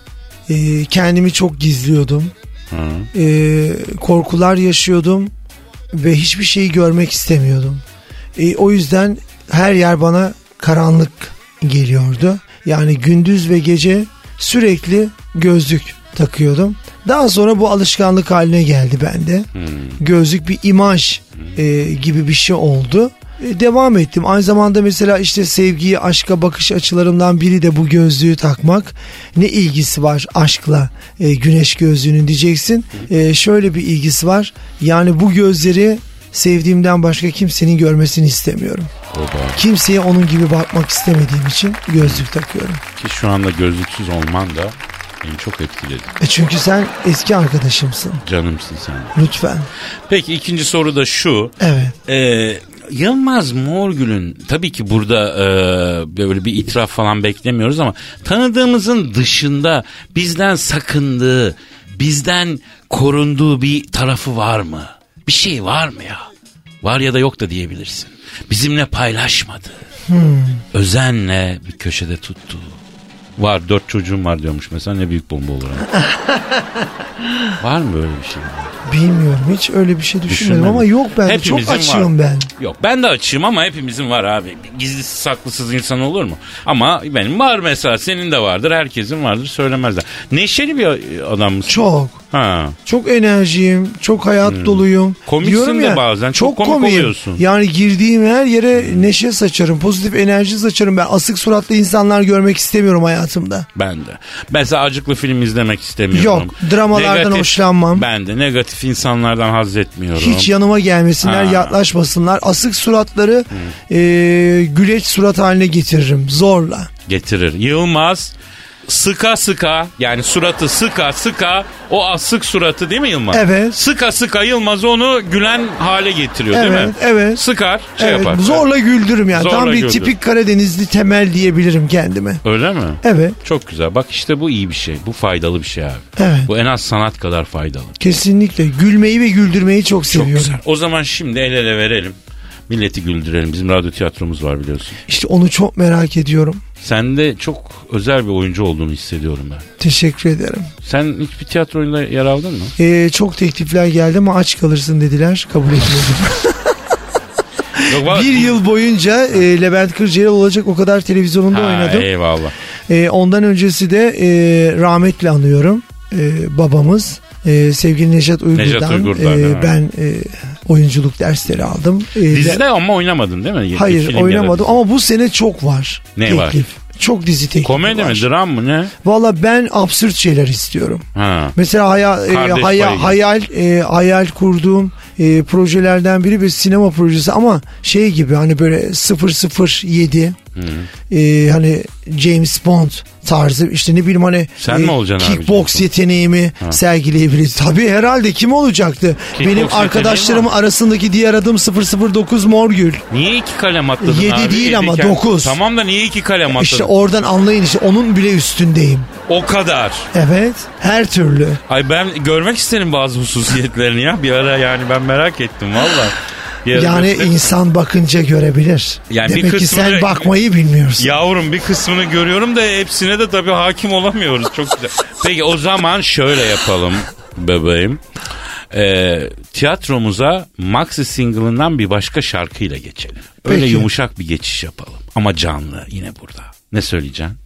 Speaker 4: e, kendimi çok gizliyordum. Ee, korkular yaşıyordum ve hiçbir şeyi görmek istemiyordum. Ee, o yüzden her yer bana karanlık geliyordu. Yani gündüz ve gece sürekli gözlük takıyordum. Daha sonra bu alışkanlık haline geldi bende. Gözlük bir imaj e, gibi bir şey oldu. E, devam ettim. Aynı zamanda mesela işte sevgiyi, aşka bakış açılarımdan biri de bu gözlüğü takmak. Ne ilgisi var aşkla e, güneş gözlüğünün diyeceksin. E, şöyle bir ilgisi var. Yani bu gözleri sevdiğimden başka kimsenin görmesini istemiyorum. Kimseye onun gibi bakmak istemediğim için gözlük takıyorum.
Speaker 2: Ki şu anda gözlüksüz olman da beni çok etkiledi.
Speaker 4: E çünkü sen eski arkadaşımsın.
Speaker 2: Canımsın sen.
Speaker 4: Lütfen.
Speaker 2: Peki ikinci soru da şu.
Speaker 4: Evet.
Speaker 2: Ee, Yılmaz Morgül'ün tabii ki burada e, böyle bir itiraf falan beklemiyoruz ama tanıdığımızın dışında bizden sakındığı, bizden korunduğu bir tarafı var mı? Bir şey var mı ya? Var ya da yok da diyebilirsin. Bizimle paylaşmadı. Özenle bir köşede tuttu. Var dört çocuğum var diyormuş mesela ne büyük bomba olur. ama. var mı böyle bir şey?
Speaker 4: Bilmiyorum hiç öyle bir şey düşünmedim
Speaker 2: Düşünmedim.
Speaker 4: ama yok ben çok
Speaker 2: Hepimizin
Speaker 4: açığım
Speaker 2: var.
Speaker 4: ben.
Speaker 2: Yok ben de açığım ama hepimizin var abi. Gizlisi saklısız insan olur mu? Ama benim var mesela senin de vardır herkesin vardır söylemezler. Neşeli bir adam mısın?
Speaker 4: Çok.
Speaker 2: Ha.
Speaker 4: Çok enerjiyim, çok hayat doluyum.
Speaker 2: Hmm. Komiksin
Speaker 4: Diyorum
Speaker 2: de bazen, çok komik oluyorsun. Hmm.
Speaker 4: Yani girdiğim her yere neşe saçarım, pozitif enerji saçarım. Ben asık suratlı insanlar görmek istemiyorum hayatımda.
Speaker 2: Ben de. Mesela acıklı film izlemek istemiyorum.
Speaker 4: Yok, dramalardan hoşlanmam.
Speaker 2: Ben de negatif insanlardan haz etmiyorum.
Speaker 4: Hiç yanıma gelmesinler,
Speaker 2: Ha.
Speaker 4: yaklaşmasınlar. Asık suratları eee güleç surat haline getiririm zorla.
Speaker 2: getirir. Yılmaz sıka sıka yani suratı sıka sıka o asık suratı değil mi Yılmaz?
Speaker 4: Evet.
Speaker 2: Sıka sıka Yılmaz onu gülen hale getiriyor değil mi?
Speaker 4: Evet, evet.
Speaker 2: Sıkar şey
Speaker 4: Evet,
Speaker 2: yapar.
Speaker 4: zorla güldürürüm yani.
Speaker 2: Zorla
Speaker 4: Tam bir
Speaker 2: güldür.
Speaker 4: tipik Karadenizli temel diyebilirim kendime.
Speaker 2: Öyle mi?
Speaker 4: Evet,
Speaker 2: Çok güzel. Bak işte bu iyi bir şey. Bu faydalı bir şey abi.
Speaker 4: Evet.
Speaker 2: Bu en az sanat kadar faydalı.
Speaker 4: kesinlikle. Gülmeyi ve güldürmeyi çok seviyorum.
Speaker 2: O zaman şimdi el ele verelim. Milleti güldürelim. Bizim radyo tiyatromuz var biliyorsun.
Speaker 4: İşte onu çok merak ediyorum.
Speaker 2: Sen de çok özel bir oyuncu olduğunu hissediyorum ben.
Speaker 4: Teşekkür ederim.
Speaker 2: Sen hiçbir tiyatro oyununda yer aldın mı?
Speaker 4: Ee, çok teklifler geldi ama aç kalırsın dediler. Kabul etmedim.
Speaker 2: Yok, var-
Speaker 4: bir yıl boyunca e, Levent Kırcaeli olacak o kadar televizyonunda
Speaker 2: Ha,
Speaker 4: oynadım.
Speaker 2: Eyvallah.
Speaker 4: E, ondan öncesi de e, rahmetli anıyorum e, babamız. e, sevgili Nejat Uygur'dan,
Speaker 2: Uygur'dan,
Speaker 4: e,
Speaker 2: evet.
Speaker 4: ben e, oyunculuk dersleri aldım. E,
Speaker 2: Dizide ama oynamadın değil mi?
Speaker 4: hayır
Speaker 2: Film ya da
Speaker 4: oynamadım
Speaker 2: dizi.
Speaker 4: ama bu sene çok var.
Speaker 2: Ne var?
Speaker 4: Çok dizi teklifi
Speaker 2: Komedi
Speaker 4: var.
Speaker 2: mi dram mı ne?
Speaker 4: Valla ben absürt şeyler istiyorum.
Speaker 2: Ha.
Speaker 4: Mesela haya- e,
Speaker 2: Kardeş
Speaker 4: haya-
Speaker 2: payı.
Speaker 4: hayal e, hayal kurduğum e, projelerden biri bir sinema projesi ama şey gibi hani böyle 007 e, hani James Bond tarzı işte ne bileyim hani
Speaker 2: Sen mi olacaksın abi
Speaker 4: kickbox
Speaker 2: James Bond?
Speaker 4: yeteneğimi sergileyebiliriz. Tabii herhalde kim olacaktı?
Speaker 2: Kickbox
Speaker 4: Benim
Speaker 2: yeteneği
Speaker 4: arkadaşlarım
Speaker 2: var.
Speaker 4: arasındaki diğer adım 009 Morgül.
Speaker 2: Niye iki kalem atladın
Speaker 4: Yedi
Speaker 2: abi?
Speaker 4: değil
Speaker 2: Yedi
Speaker 4: ama
Speaker 2: kalem.
Speaker 4: dokuz.
Speaker 2: Tamam da niye iki kalem atladın?
Speaker 4: İşte oradan anlayın işte onun bile üstündeyim.
Speaker 2: o kadar.
Speaker 4: Evet her türlü.
Speaker 2: Ay ben görmek isterim bazı hususiyetlerini ya. Bir ara yani ben merak ettim valla. Bir ara
Speaker 4: Yani
Speaker 2: böyle-
Speaker 4: insan bakınca görebilir.
Speaker 2: Yani bir
Speaker 4: Demek ki
Speaker 2: kısmı
Speaker 4: sen
Speaker 2: direkt-
Speaker 4: bakmayı bilmiyorsun.
Speaker 2: Yavrum bir kısmını görüyorum da hepsine de tabii hakim olamıyoruz. Çok güzel. Peki o zaman şöyle yapalım bebeğim. Ee, tiyatromuza maxi single'ından bir başka şarkıyla geçelim. Öyle
Speaker 4: Peki.
Speaker 2: yumuşak bir geçiş yapalım. Ama canlı yine burada. Ne söyleyeceksin?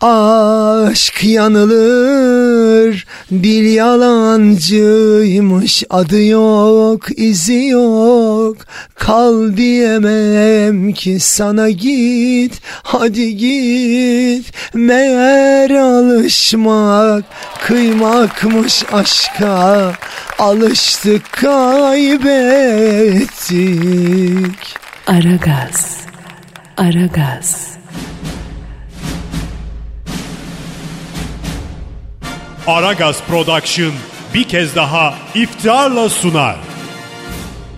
Speaker 4: Aşk yanılır, dil yalancıymış, adı yok, izi yok. Kal diyemem ki sana git, hadi git. Meğer alışmak, kıymakmış aşka, alıştık kaybettik.
Speaker 1: Aragaz. Aragaz.
Speaker 7: Aragaz Production bir kez daha iftiharla sunar.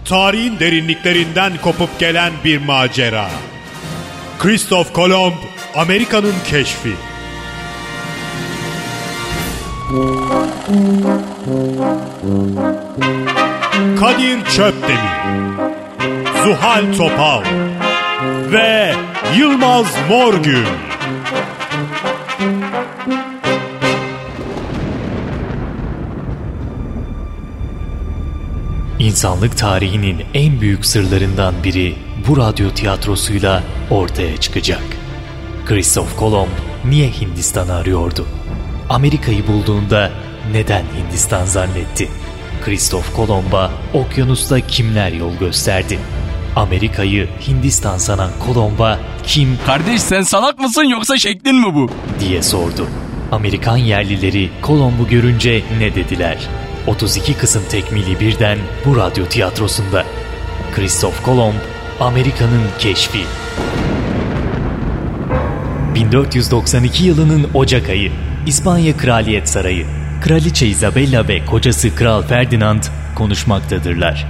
Speaker 7: Tarihin derinliklerinden kopup gelen bir macera. Christoph Kolomb, Amerika'nın keşfi. Kadir Çöpdemir, Zuhal Topal ve Yılmaz Morgül.
Speaker 5: İnsanlık tarihinin en büyük sırlarından biri bu radyo tiyatrosuyla ortaya çıkacak. Christoph Kolomb niye Hindistan'ı arıyordu? Amerika'yı bulduğunda neden Hindistan zannetti? Christoph Kolomb'a okyanusta kimler yol gösterdi? Amerika'yı Hindistan sanan Kolomb'a kim
Speaker 8: Kardeş sen salak mısın yoksa şeklin mi bu?
Speaker 5: diye sordu. Amerikan yerlileri Kolomb'u görünce ne dediler? 32 kısım tekmili birden bu radyo tiyatrosunda. Christoph Kolomb, Amerika'nın keşfi. 1492 yılının Ocak ayı, İspanya Kraliyet Sarayı. Kraliçe Isabella ve kocası Kral Ferdinand konuşmaktadırlar.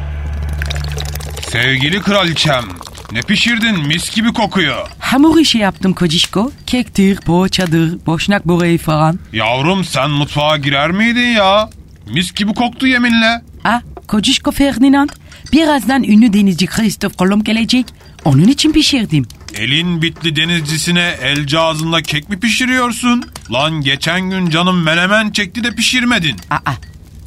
Speaker 9: Sevgili kraliçem, ne pişirdin mis gibi kokuyor.
Speaker 8: Hamur işi yaptım kocişko. Kektir, poğaçadır, boşnak böreği falan.
Speaker 9: Yavrum sen mutfağa girer miydin ya? Mis gibi koktu yeminle.
Speaker 8: Ah kocişko Ferdinand. Birazdan ünlü denizci Christoph Kolomb gelecek. Onun için pişirdim.
Speaker 9: Elin bitli denizcisine el cağızında kek mi pişiriyorsun? Lan geçen gün canım menemen çekti de pişirmedin.
Speaker 8: Aa,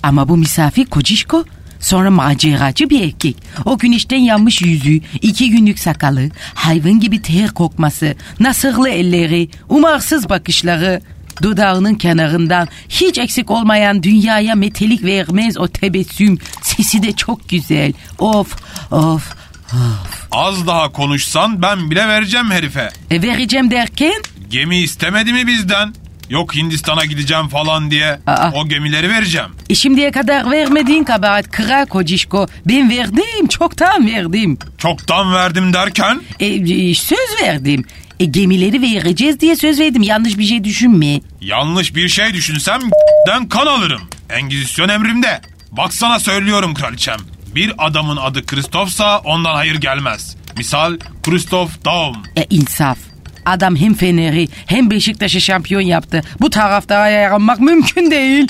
Speaker 8: ama bu misafir kocişko. Sonra maceracı bir erkek. O güneşten yanmış yüzü, iki günlük sakalı, hayvan gibi ter kokması, nasırlı elleri, umarsız bakışları, dudağının kenarından hiç eksik olmayan dünyaya metelik vermez o tebessüm. Sesi de çok güzel. Of, of, of.
Speaker 9: Az daha konuşsan ben bile vereceğim herife.
Speaker 8: E, vereceğim derken?
Speaker 9: Gemi istemedi mi bizden? Yok Hindistan'a gideceğim falan diye.
Speaker 8: Aa.
Speaker 9: O gemileri vereceğim.
Speaker 8: E, şimdiye kadar vermediğin kabahat kral kocişko. Ben verdim, çoktan verdim.
Speaker 9: Çoktan verdim derken
Speaker 8: E, e, söz verdim. E, gemileri vereceğiz diye söz verdim. Yanlış bir şey düşünme.
Speaker 9: yanlış bir şey düşünsem den kan alırım. Engizisyon emrimde. Baksana söylüyorum kraliçem. Bir adamın adı Kristofsa ondan hayır gelmez. Misal Kristof Daum.
Speaker 8: E, insaf. Adam hem Fener'i hem Beşiktaş'ı şampiyon yaptı. Bu taraftara yaranmak mümkün değil.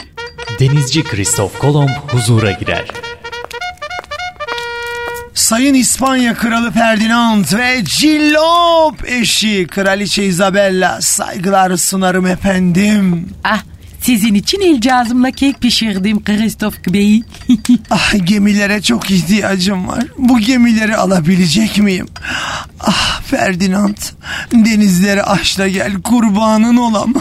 Speaker 5: Denizci Christoph Kolomb huzura girer.
Speaker 4: Sayın İspanya Kralı Ferdinand ve Cillop eşi Kraliçe Isabella saygılar sunarım efendim.
Speaker 8: Ah sizin için el cazımla kek pişirdim Kristof Bey.
Speaker 4: Ah gemilere çok ihtiyacım var. Bu gemileri alabilecek miyim? Ah Ferdinand denizleri aşla gel kurbanın olam.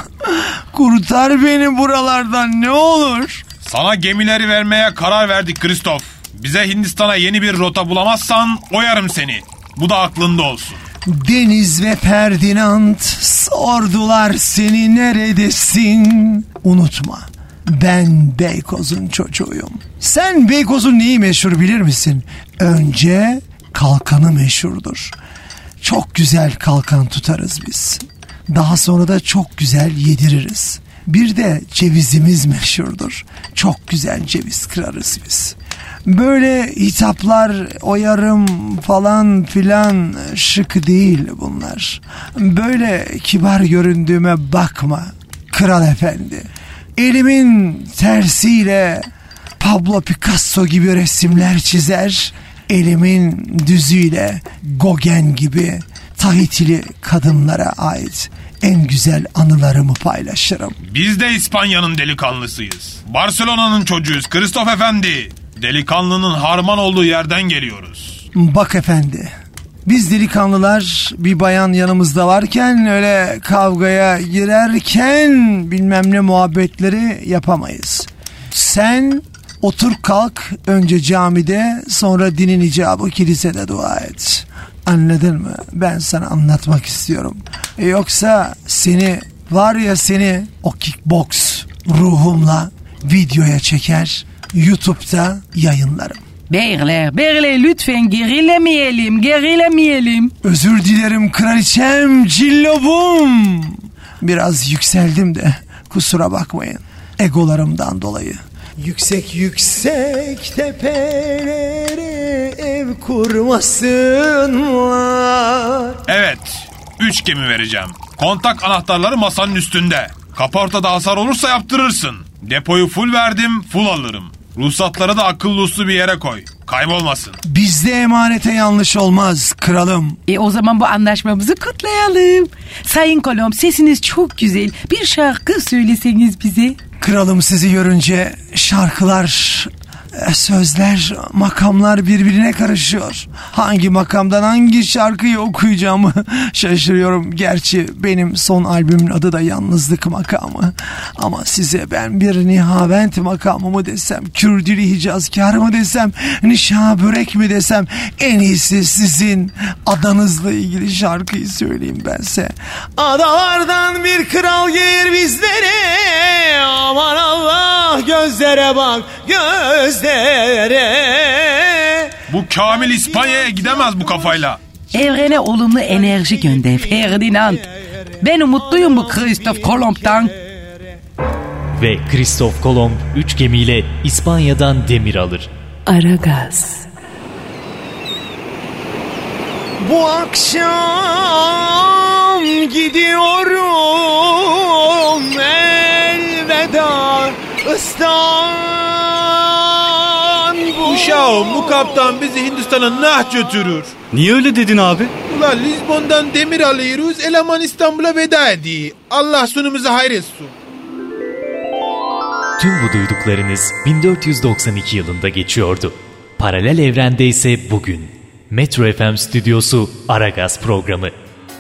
Speaker 4: Kurtar beni buralardan ne olur.
Speaker 9: Sana gemileri vermeye karar verdik Kristof. Bize Hindistan'a yeni bir rota bulamazsan oyarım seni. Bu da aklında olsun.
Speaker 4: Deniz ve Ferdinand sordular seni neredesin? Unutma ben Beykoz'un çocuğuyum. Sen Beykoz'un neyi meşhur bilir misin? Önce kalkanı meşhurdur. Çok güzel kalkan tutarız biz. Daha sonra da çok güzel yediririz. Bir de cevizimiz meşhurdur. Çok güzel ceviz kırarız biz. Böyle hitaplar oyarım falan filan şık değil bunlar. Böyle kibar göründüğüme bakma kral efendi. Elimin tersiyle Pablo Picasso gibi resimler çizer. Elimin düzüyle Gogen gibi Tahitili kadınlara ait en güzel anılarımı paylaşırım.
Speaker 9: Biz de İspanya'nın delikanlısıyız. Barcelona'nın çocuğuyuz Kristof Efendi. Delikanlının harman olduğu yerden geliyoruz.
Speaker 4: Bak efendi. Biz delikanlılar bir bayan yanımızda varken öyle kavgaya girerken bilmem ne muhabbetleri yapamayız. Sen otur kalk önce camide sonra dinin icabı kilisede dua et. Anladın mı? Ben sana anlatmak istiyorum. Yoksa seni var ya seni o kickbox ruhumla videoya çeker YouTube'da yayınlarım.
Speaker 8: Beyler, beyler lütfen gerilemeyelim, gerilemeyelim.
Speaker 4: Özür dilerim kraliçem cillobum. Biraz yükseldim de kusura bakmayın. Egolarımdan dolayı. Yüksek yüksek tepelere ev kurmasınlar.
Speaker 9: Evet, Üç gemi vereceğim. Kontak anahtarları masanın üstünde. Kaportada hasar olursa yaptırırsın. Depoyu full verdim, full alırım. Ruhsatları da akıllı uslu bir yere koy. Kaybolmasın.
Speaker 4: Bizde emanete yanlış olmaz kralım.
Speaker 8: E o zaman bu anlaşmamızı kutlayalım. Sayın Kolom sesiniz çok güzel. Bir şarkı söyleseniz bize.
Speaker 4: Kralım sizi görünce şarkılar, e, sözler, makamlar birbirine karışıyor. Hangi makamdan hangi şarkıyı okuyacağımı şaşırıyorum. Gerçi benim son albümün adı da Yalnızlık Makamı. Ama size ben bir Nihavent makamı mı desem, Kürdili Hicazkar mı desem, Nişa Börek mi desem, en iyisi sizin adanızla ilgili şarkıyı söyleyeyim bense. Adalardan bir kral gelir bizlere Aman Allah gözlere bak gözlere
Speaker 9: Bu Kamil İspanya'ya gidemez bu kafayla.
Speaker 8: Evrene olumlu enerji gönder Ferdinand. Ben umutluyum bu Christoph Kolomb'dan.
Speaker 5: Ve Kristof Kolomb 3 gemiyle İspanya'dan demir alır.
Speaker 1: Aragaz.
Speaker 4: Bu akşam gidiyorum elveda İstanbul
Speaker 9: Uşağım bu kaptan bizi Hindistan'a nah götürür.
Speaker 7: Niye öyle dedin abi?
Speaker 9: Ulan Lizbon'dan demir alıyoruz, eleman İstanbul'a veda ediyor. Allah sunumuzu hayretsin.
Speaker 5: Tüm bu duyduklarınız 1492 yılında geçiyordu. Paralel evrende ise bugün. Metro FM stüdyosu Aragaz programı.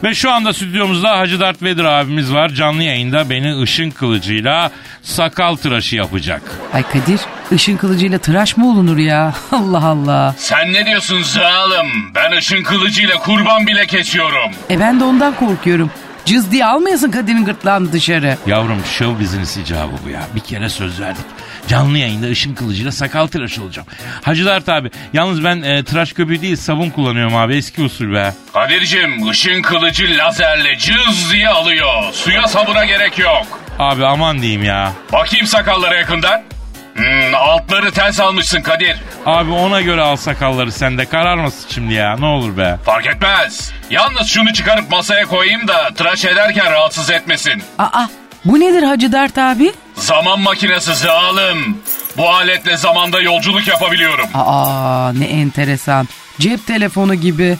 Speaker 2: Ve şu anda stüdyomuzda Hacı Dert Vedir abimiz var. Canlı yayında beni ışın kılıcıyla sakal tıraşı yapacak.
Speaker 8: Ay Kadir ışın kılıcıyla tıraş mı olunur ya? Allah Allah.
Speaker 10: Sen ne diyorsun zalım? Ben ışın kılıcıyla kurban bile kesiyorum.
Speaker 8: E ben de ondan korkuyorum. Cız diye almayasın Kadir'in gırtlağını dışarı.
Speaker 2: Yavrum show business icabı bu ya. Bir kere söz verdik. Canlı yayında ışın kılıcıyla sakal tıraşı olacağım. Hacı Dert abi yalnız ben e, tıraş köpüğü değil sabun kullanıyorum abi eski usul be.
Speaker 10: Kadir'cim ışın kılıcı lazerle cız diye alıyor. Suya sabuna gerek yok.
Speaker 2: Abi aman diyeyim ya.
Speaker 10: Bakayım sakallara yakından. Hmm, altları ters almışsın Kadir.
Speaker 2: Abi ona göre al sakalları sen de kararmasın şimdi ya ne olur be.
Speaker 10: Fark etmez. Yalnız şunu çıkarıp masaya koyayım da tıraş ederken rahatsız etmesin.
Speaker 8: Aa bu nedir Hacı Dert abi?
Speaker 10: Zaman makinesi zalim. Bu aletle zamanda yolculuk yapabiliyorum.
Speaker 8: Aa ne enteresan. Cep telefonu gibi.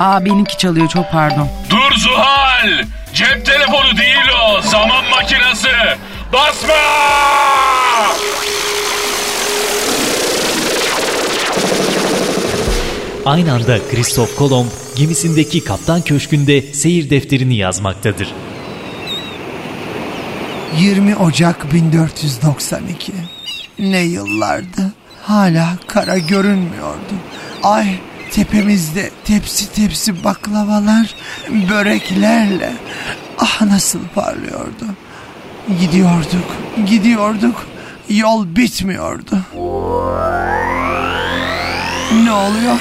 Speaker 8: Aa benimki çalıyor çok pardon.
Speaker 10: Dur Zuhal! Cep telefonu değil o, zaman makinesi. Basma!
Speaker 5: Aynı anda Kristof Kolomb gemisindeki kaptan köşkünde seyir defterini yazmaktadır.
Speaker 4: 20 Ocak 1492 Ne yıllardı Hala kara görünmüyordu Ay tepemizde tepsi tepsi baklavalar Böreklerle Ah nasıl parlıyordu Gidiyorduk Gidiyorduk Yol bitmiyordu Ne oluyor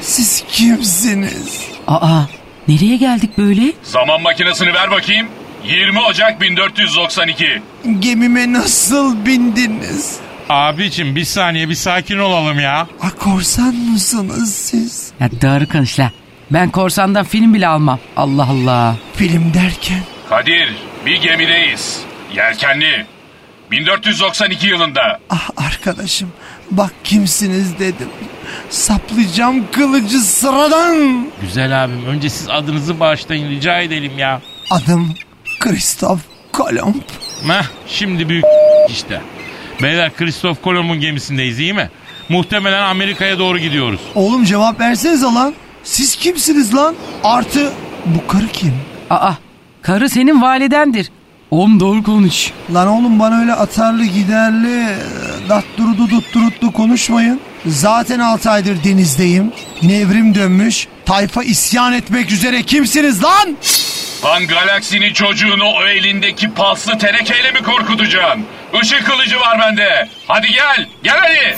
Speaker 4: Siz kimsiniz?
Speaker 8: Aa nereye geldik böyle?
Speaker 10: Zaman makinesini ver bakayım. 20 Ocak 1492.
Speaker 4: Gemime nasıl bindiniz?
Speaker 2: Abicim bir saniye bir sakin olalım ya.
Speaker 4: A, korsan mısınız siz?
Speaker 8: Ya doğru konuş la. Ben korsandan film bile almam. Allah Allah.
Speaker 4: Film derken
Speaker 10: Kadir, bir gemideyiz. Yelkenli. 1492 yılında.
Speaker 4: ah arkadaşım bak kimsiniz dedim. Saplayacağım kılıcı sıradan.
Speaker 2: Güzel abim önce siz adınızı bağışlayın rica edelim ya.
Speaker 4: Adım Kristof Kolomb.
Speaker 2: Meh şimdi büyük işte. Beyler Kristof Kolomb'un gemisindeyiz iyi mi? Muhtemelen Amerika'ya doğru gidiyoruz.
Speaker 4: Oğlum cevap versenize lan. Siz kimsiniz lan? Artı bu karı kim?
Speaker 8: Aa karı senin validendir. Oğlum doğru konuş.
Speaker 4: Lan oğlum bana öyle atarlı giderli datturudu dutturutlu konuşmayın. Zaten 6 aydır denizdeyim. Nevrim dönmüş. Tayfa isyan etmek üzere kimsiniz lan?
Speaker 10: Lan galaksinin çocuğunu o elindeki paslı tenekeyle mi korkutacaksın? Işık kılıcı var bende. Hadi gel, gel hadi.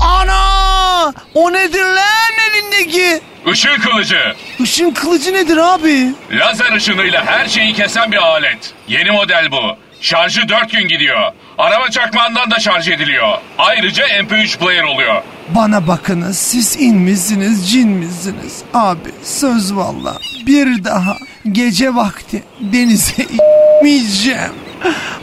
Speaker 4: Ana! O nedir lan elindeki?
Speaker 10: Işık kılıcı.
Speaker 4: Işın kılıcı nedir abi?
Speaker 10: Lazer ışınıyla her şeyi kesen bir alet. Yeni model bu. Şarjı 4 gün gidiyor. Araba çakmağından da şarj ediliyor. Ayrıca MP3 player oluyor.
Speaker 4: Bana bakınız siz in misiniz cin misiniz? Abi söz valla bir daha gece vakti denize inmeyeceğim.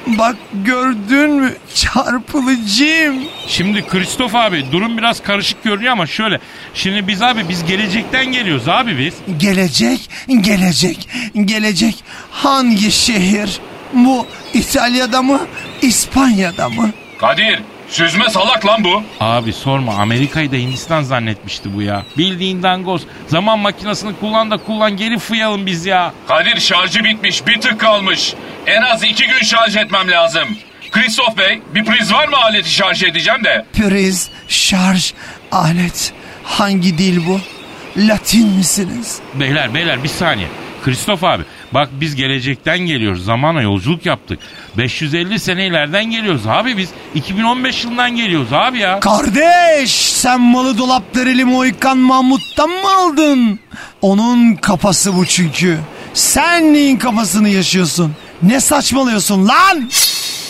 Speaker 4: Bak gördün mü çarpılıcım.
Speaker 2: Şimdi Kristof abi durum biraz karışık görünüyor ama şöyle. Şimdi biz abi biz gelecekten geliyoruz abi biz.
Speaker 4: Gelecek, gelecek, gelecek hangi şehir? Bu İtalya'da mı, İspanya'da mı?
Speaker 11: Kadir süzme salak lan bu.
Speaker 2: Abi sorma Amerika'yı da Hindistan zannetmişti bu ya. Bildiğin dangoz. Zaman makinesini kullan da kullan geri fıyalım biz ya.
Speaker 11: Kadir şarjı bitmiş bir tık kalmış. En az iki gün şarj etmem lazım. Kristof Bey bir priz var mı aleti şarj edeceğim de.
Speaker 4: Priz, şarj, alet. Hangi dil bu? Latin misiniz?
Speaker 2: Beyler beyler bir saniye. Kristof abi bak biz gelecekten geliyoruz. Zamana yolculuk yaptık. 550 sene ileriden geliyoruz abi biz. 2015 yılından geliyoruz abi ya.
Speaker 4: Kardeş sen malı dolapdereli Moikan Mahmut'tan mı aldın? Onun kafası bu çünkü. Sen neyin kafasını yaşıyorsun? Ne saçmalıyorsun lan?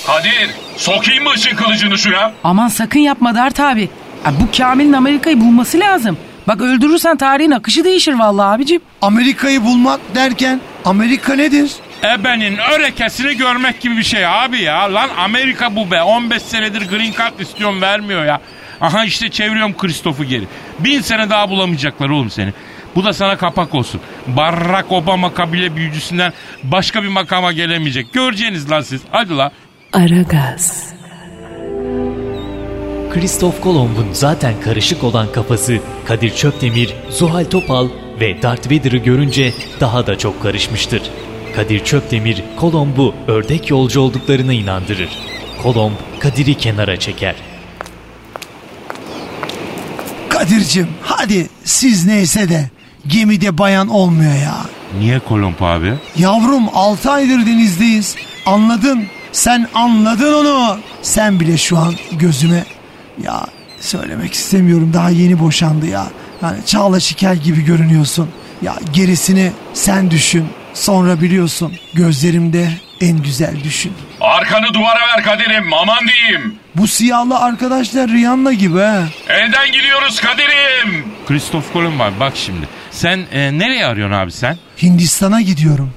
Speaker 11: Kadir sokayım mı ışın kılıcını şuna?
Speaker 8: Aman sakın yapma Dert abi. Ya bu Kamil'in Amerika'yı bulması lazım. Bak öldürürsen tarihin akışı değişir vallahi abicim.
Speaker 4: Amerika'yı bulmak derken Amerika nedir?
Speaker 2: Ebenin örekesini görmek gibi bir şey abi ya. Lan Amerika bu be. 15 senedir green card istiyorum vermiyor ya. Aha işte çeviriyorum Kristof'u geri. Bin sene daha bulamayacaklar oğlum seni. Bu da sana kapak olsun. Barack Obama kabile büyücüsünden başka bir makama gelemeyecek. Göreceğiniz lan siz. Hadi la.
Speaker 1: Aragaz,
Speaker 5: Kristof Kolomb'un zaten karışık olan kafası Kadir Çöpdemir, Zuhal Topal ve Darth Vader'ı görünce daha da çok karışmıştır. Kadir Çöpdemir, Kolomb'u ördek yolcu olduklarına inandırır. Kolomb, Kadir'i kenara çeker.
Speaker 4: Kadir'cim hadi siz neyse de gemide bayan olmuyor ya.
Speaker 2: Niye Kolomb abi?
Speaker 4: Yavrum 6 aydır denizdeyiz. Anladın. Sen anladın onu. Sen bile şu an gözüme ya söylemek istemiyorum daha yeni boşandı ya. Yani Çağla Şikel gibi görünüyorsun. Ya gerisini sen düşün. Sonra biliyorsun gözlerimde en güzel düşün.
Speaker 11: Arkanı duvara ver Kadir'im aman diyeyim.
Speaker 4: Bu siyahlı arkadaşlar Rihanna gibi he.
Speaker 11: Elden gidiyoruz Kadir'im.
Speaker 2: Kristof Kolomb abi bak şimdi. Sen e, nereye arıyorsun abi sen?
Speaker 4: Hindistan'a gidiyorum.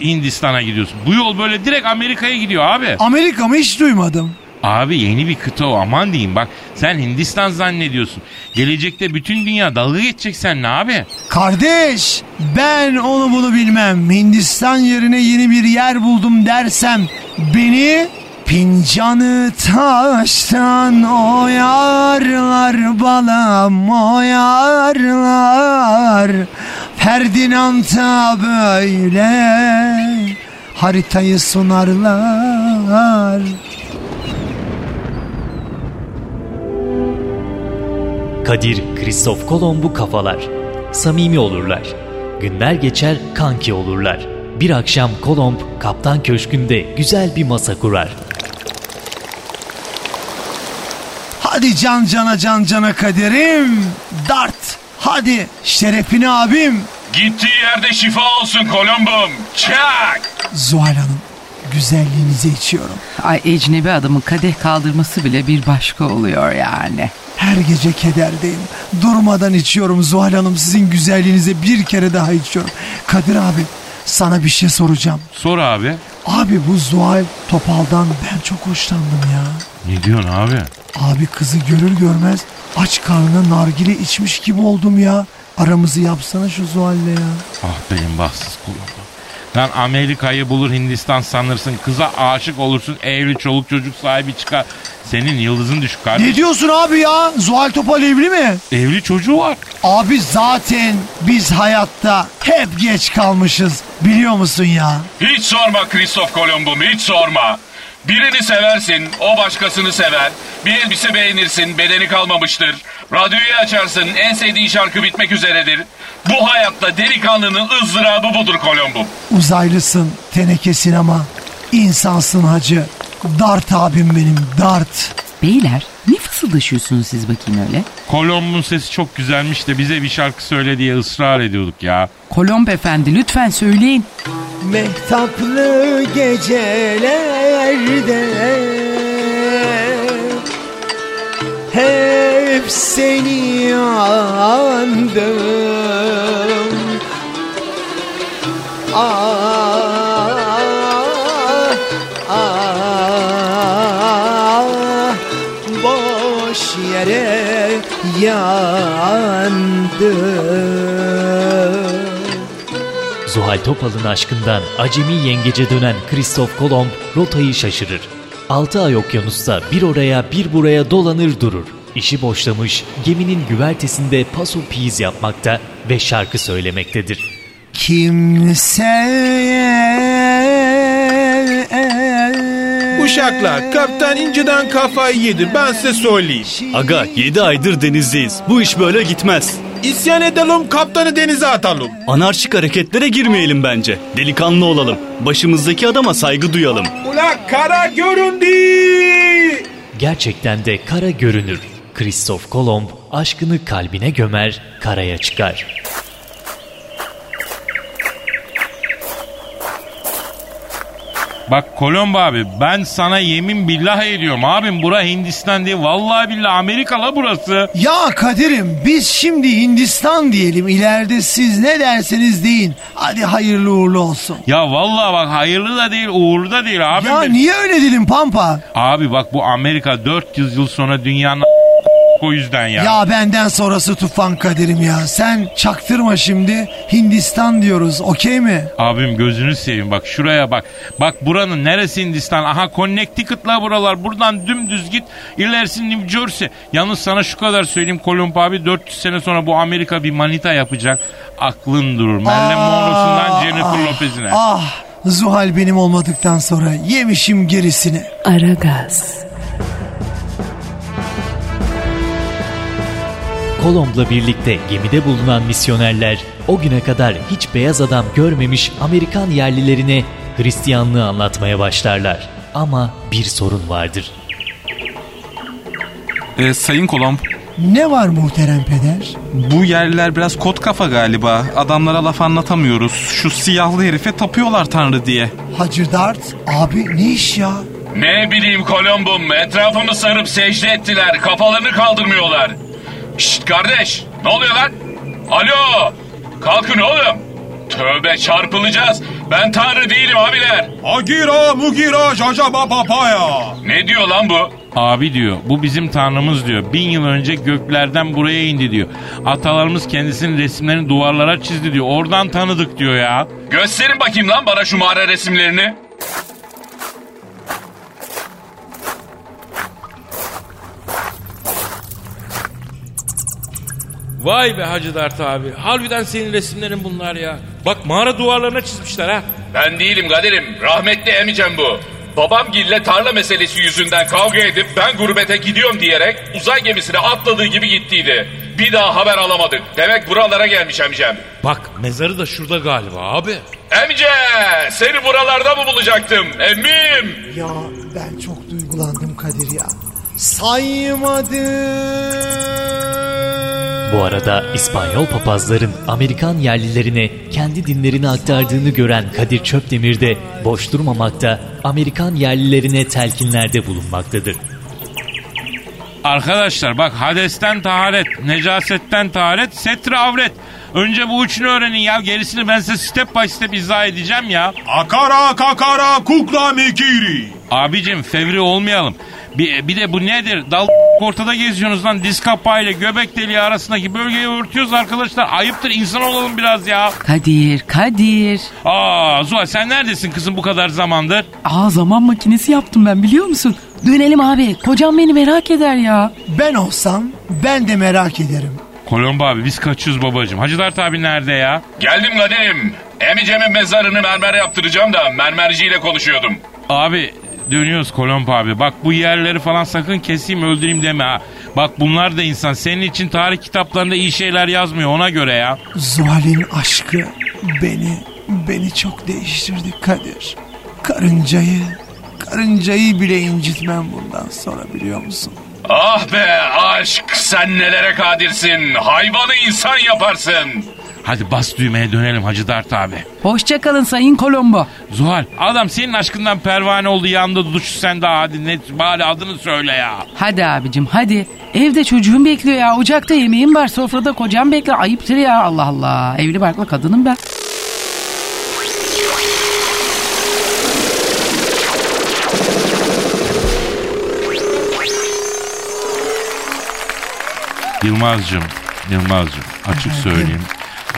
Speaker 2: Hindistan'a gidiyorsun. Bu yol böyle direkt Amerika'ya gidiyor abi.
Speaker 4: Amerika mı hiç duymadım.
Speaker 2: Abi yeni bir kıta o aman diyeyim bak sen Hindistan zannediyorsun. Gelecekte bütün dünya dalga geçecek seninle abi.
Speaker 4: Kardeş ben onu bunu bilmem. Hindistan yerine yeni bir yer buldum dersem beni Pincanı taştan oyarlar balam oyarlar Ferdinand'a böyle haritayı sunarlar
Speaker 5: Kadir, Kristof Kolomb'u kafalar. Samimi olurlar. Günler geçer kanki olurlar. Bir akşam Kolomb kaptan köşkünde güzel bir masa kurar.
Speaker 4: Hadi can cana can cana kaderim Dart hadi şerefine abim
Speaker 11: Gittiği yerde şifa olsun Kolombum. Çak.
Speaker 4: Zuhal Hanım güzelliğinize içiyorum
Speaker 8: Ay ecnebi adamın kadeh kaldırması bile bir başka oluyor yani.
Speaker 4: Her gece kederdeyim. Durmadan içiyorum Zuhal Hanım. Sizin güzelliğinize bir kere daha içiyorum. Kadir abi sana bir şey soracağım.
Speaker 2: Sor abi.
Speaker 4: Abi bu Zuhal Topal'dan ben çok hoşlandım ya.
Speaker 2: Ne diyorsun abi?
Speaker 4: Abi kızı görür görmez aç karnına nargile içmiş gibi oldum ya. Aramızı yapsana şu Zuhal'le ya.
Speaker 2: Ah benim bahtsız kulum. Lan Amerika'yı bulur Hindistan sanırsın. Kıza aşık olursun. Evli çoluk çocuk sahibi çıkar. Senin yıldızın düşük kardeşim.
Speaker 4: Ne diyorsun abi ya? Zuhal Topal evli mi?
Speaker 2: Evli çocuğu var.
Speaker 4: Abi zaten biz hayatta hep geç kalmışız. Biliyor musun ya?
Speaker 11: Hiç sorma Kristof Kolombum hiç sorma. Birini seversin, o başkasını sever. Bir elbise beğenirsin, bedeni kalmamıştır. Radyoyu açarsın, en sevdiğin şarkı bitmek üzeredir. Bu hayatta delikanlının ızdırabı budur Kolombum.
Speaker 4: Uzaylısın, teneke sinema. insansın hacı. Dart abim benim, dart.
Speaker 8: Beyler ne fısıldaşıyorsunuz siz bakayım öyle?
Speaker 2: Kolomb'un sesi çok güzelmiş de bize bir şarkı söyle diye ısrar ediyorduk ya.
Speaker 8: Kolomb efendi lütfen söyleyin.
Speaker 4: Mehtaplı gecelerde
Speaker 12: Hep seni yandım Ah, ah, boş yere yandım
Speaker 5: Zuhal Topal'ın aşkından acemi yengece dönen Kristof Kolomb rotayı şaşırır. 6 ay okyanusta bir oraya bir buraya dolanır durur. İşi boşlamış, geminin güvertesinde paso piz yapmakta ve şarkı söylemektedir.
Speaker 4: Kimse
Speaker 13: Uşaklar kaptan inceden kafayı yedi ben size söyleyeyim.
Speaker 14: Aga 7 aydır denizdeyiz. Bu iş böyle gitmez.
Speaker 13: İsyan edelim kaptanı denize atalım.
Speaker 14: Anarşik hareketlere girmeyelim bence. Delikanlı olalım. Başımızdaki adama saygı duyalım.
Speaker 13: Ula kara göründü.
Speaker 5: Gerçekten de kara görünür. Kristof Kolomb aşkını kalbine gömer, karaya çıkar.
Speaker 2: Bak Kolombo abi ben sana yemin billah ediyorum abim bura Hindistan değil vallahi billahi Amerika la burası.
Speaker 4: Ya Kadir'im biz şimdi Hindistan diyelim ileride siz ne derseniz deyin. Hadi hayırlı uğurlu olsun.
Speaker 2: Ya vallahi bak hayırlı da değil uğurlu da değil abim.
Speaker 4: ya
Speaker 2: benim.
Speaker 4: niye öyle dedin Pampa?
Speaker 2: Abi bak bu Amerika 400 yıl sonra dünyanın o yüzden ya.
Speaker 4: Ya. benden sonrası tufan Kadir'im ya. Sen çaktırma şimdi Hindistan diyoruz okey mi?
Speaker 2: Abim gözünü seveyim bak şuraya bak. Bak buranın neresi Hindistan? Aha Connecticut'la buralar. Buradan dümdüz git. İlerisi New Jersey. Yalnız sana şu kadar söyleyeyim Kolomb abi 400 sene sonra bu Amerika bir manita yapacak. Aklın durur. Marilyn Monroe'sundan Jennifer
Speaker 4: ah,
Speaker 2: Lopez'ine.
Speaker 4: Ah Zuhal benim olmadıktan sonra yemişim gerisini.
Speaker 15: Aragaz,
Speaker 5: Kolomb'la birlikte gemide bulunan misyonerler o güne kadar hiç beyaz adam görmemiş Amerikan yerlilerine Hristiyanlığı anlatmaya başlarlar. Ama bir sorun vardır.
Speaker 16: Ee, Sayın Kolomb,
Speaker 4: Ne var muhterem peder?
Speaker 16: bu yerliler biraz kot kafa galiba. Adamlara laf anlatamıyoruz. Şu siyahlı herife tapıyorlar tanrı diye.
Speaker 4: Hacı Dert abi ne iş ya?
Speaker 9: Ne bileyim Kolombum etrafımı sarıp secde ettiler. Kafalarını kaldırmıyorlar. Şşt kardeş ne oluyor lan? Alo kalkın oğlum. Tövbe çarpılacağız. Ben tanrı değilim abiler.
Speaker 17: Agira mugira jajaba papaya.
Speaker 9: Ne diyor lan bu?
Speaker 2: Abi diyor bu bizim tanrımız diyor. Bin yıl önce göklerden buraya indi diyor. Atalarımız kendisinin resimlerini duvarlara çizdi diyor. Oradan tanıdık diyor ya.
Speaker 9: Gösterin bakayım lan bana şu mağara resimlerini.
Speaker 2: Vay be Hacı Dert abi. Harbiden senin resimlerin bunlar ya. Bak mağara duvarlarına çizmişler ha.
Speaker 9: Ben değilim Kadir'im. Rahmetli emicem bu. Babam gille tarla meselesi yüzünden kavga edip ben gurbete gidiyorum diyerek uzay gemisine atladığı gibi gittiydi. Bir daha haber alamadık. Demek buralara gelmiş emicem.
Speaker 2: Bak mezarı da şurada galiba abi.
Speaker 9: Emice seni buralarda mı bulacaktım emmim?
Speaker 18: Ya ben çok duygulandım Kadir ya.
Speaker 12: Saymadım
Speaker 5: Bu arada İspanyol papazların Amerikan yerlilerine kendi dinlerini aktardığını gören Kadir Çöpdemir de boş durmamakta Amerikan yerlilerine telkinlerde bulunmaktadır.
Speaker 2: Arkadaşlar bak Hades'ten taharet, necasetten taharet, setre avret. Önce bu üçünü öğrenin ya. Gerisini ben size step by step izah edeceğim ya.
Speaker 17: Akara kakara kukla mikiri.
Speaker 2: Abicim fevri olmayalım. Bir, bir de bu nedir? Dal ortada geziyorsunuz lan. Diz kapağıyla göbek deliği arasındaki bölgeyi örtüyoruz arkadaşlar. Ayıptır insan olalım biraz ya.
Speaker 1: Kadir, Kadir.
Speaker 2: Aa Zuhal sen neredesin kızım bu kadar zamandır?
Speaker 1: Aa zaman makinesi yaptım ben biliyor musun? Dönelim abi. Kocam beni merak eder ya.
Speaker 4: Ben olsam ben de merak ederim.
Speaker 2: Kolombo abi biz kaçıyoruz babacığım. Hacı Dert abi nerede ya?
Speaker 9: Geldim Kadir'im. Emicemin mezarını mermer yaptıracağım da mermerciyle konuşuyordum.
Speaker 2: Abi dönüyoruz Kolombo abi. Bak bu yerleri falan sakın keseyim öldüreyim deme ha. Bak bunlar da insan. Senin için tarih kitaplarında iyi şeyler yazmıyor ona göre ya.
Speaker 4: Zuhal'in aşkı beni, beni çok değiştirdi Kadir. Karıncayı, karıncayı bile incitmem bundan sonra biliyor musun?
Speaker 9: Ah be aşk sen nelere kadirsin. Hayvanı insan yaparsın.
Speaker 2: Hadi bas düğmeye dönelim Hacı Dert abi.
Speaker 8: Hoşçakalın Sayın Kolombo.
Speaker 2: Zuhal adam senin aşkından pervane oldu yanında duş sen daha hadi net bari adını söyle ya.
Speaker 8: Hadi abicim hadi. Evde çocuğum bekliyor ya. Ocakta yemeğim var. Sofrada kocam bekliyor. Ayıptır ya Allah Allah. Evli barklı kadınım ben.
Speaker 2: Yılmaz'cığım, Yılmaz'cığım açık söyleyeyim.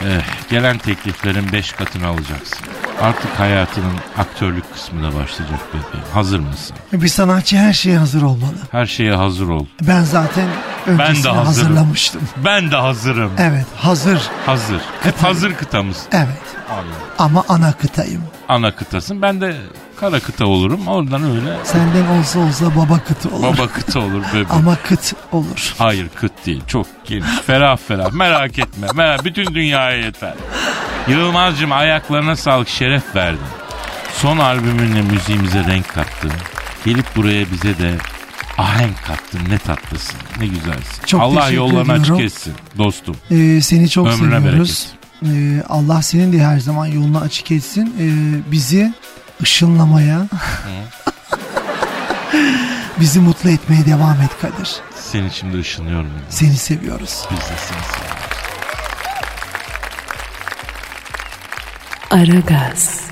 Speaker 2: Eh, gelen tekliflerin beş katını alacaksın. Artık hayatının aktörlük kısmı da başlayacak bebeğim. Hazır mısın?
Speaker 4: Bir sanatçı her şeye hazır olmalı.
Speaker 2: Her şeye hazır ol.
Speaker 4: Ben zaten
Speaker 2: Ben
Speaker 4: öncesini
Speaker 2: de hazırım.
Speaker 4: hazırlamıştım.
Speaker 2: Ben de hazırım.
Speaker 4: Evet hazır
Speaker 2: Hazır. Hep hazır kıtamız.
Speaker 4: evet
Speaker 2: Allah.
Speaker 4: ama ana kıtayım.
Speaker 2: Ana kıtasın. Ben de kara kıta olurum. Oradan öyle
Speaker 4: Senden olsa olsa baba kıtı olur.
Speaker 2: baba kıta olur bebeğim.
Speaker 4: Ama kıt olur.
Speaker 2: Hayır kıt değil çok geniş ferah ferah merak etme merak, bütün dünyaya yeter. Yılmaz'cığım ayaklarına sağlık şeref verdin. Son albümünle müziğimize renk kattın. Gelip buraya bize de ahenk kattın ne tatlısın ne güzelsin.
Speaker 4: Çok
Speaker 2: Allah
Speaker 4: teşekkür
Speaker 2: yollarını açık
Speaker 4: ediyorum.
Speaker 2: etsin dostum.
Speaker 4: Ee, seni çok
Speaker 2: Ömrüne
Speaker 4: seviyoruz. Ee, Allah senin de her zaman yolunu açık etsin. Ee, bizi ışınlamaya, bizi mutlu etmeye devam et Kadir.
Speaker 2: Seni şimdi ışınıyorum.
Speaker 4: Seni seviyoruz.
Speaker 2: Biz de seni seviyoruz.
Speaker 1: Aragaz.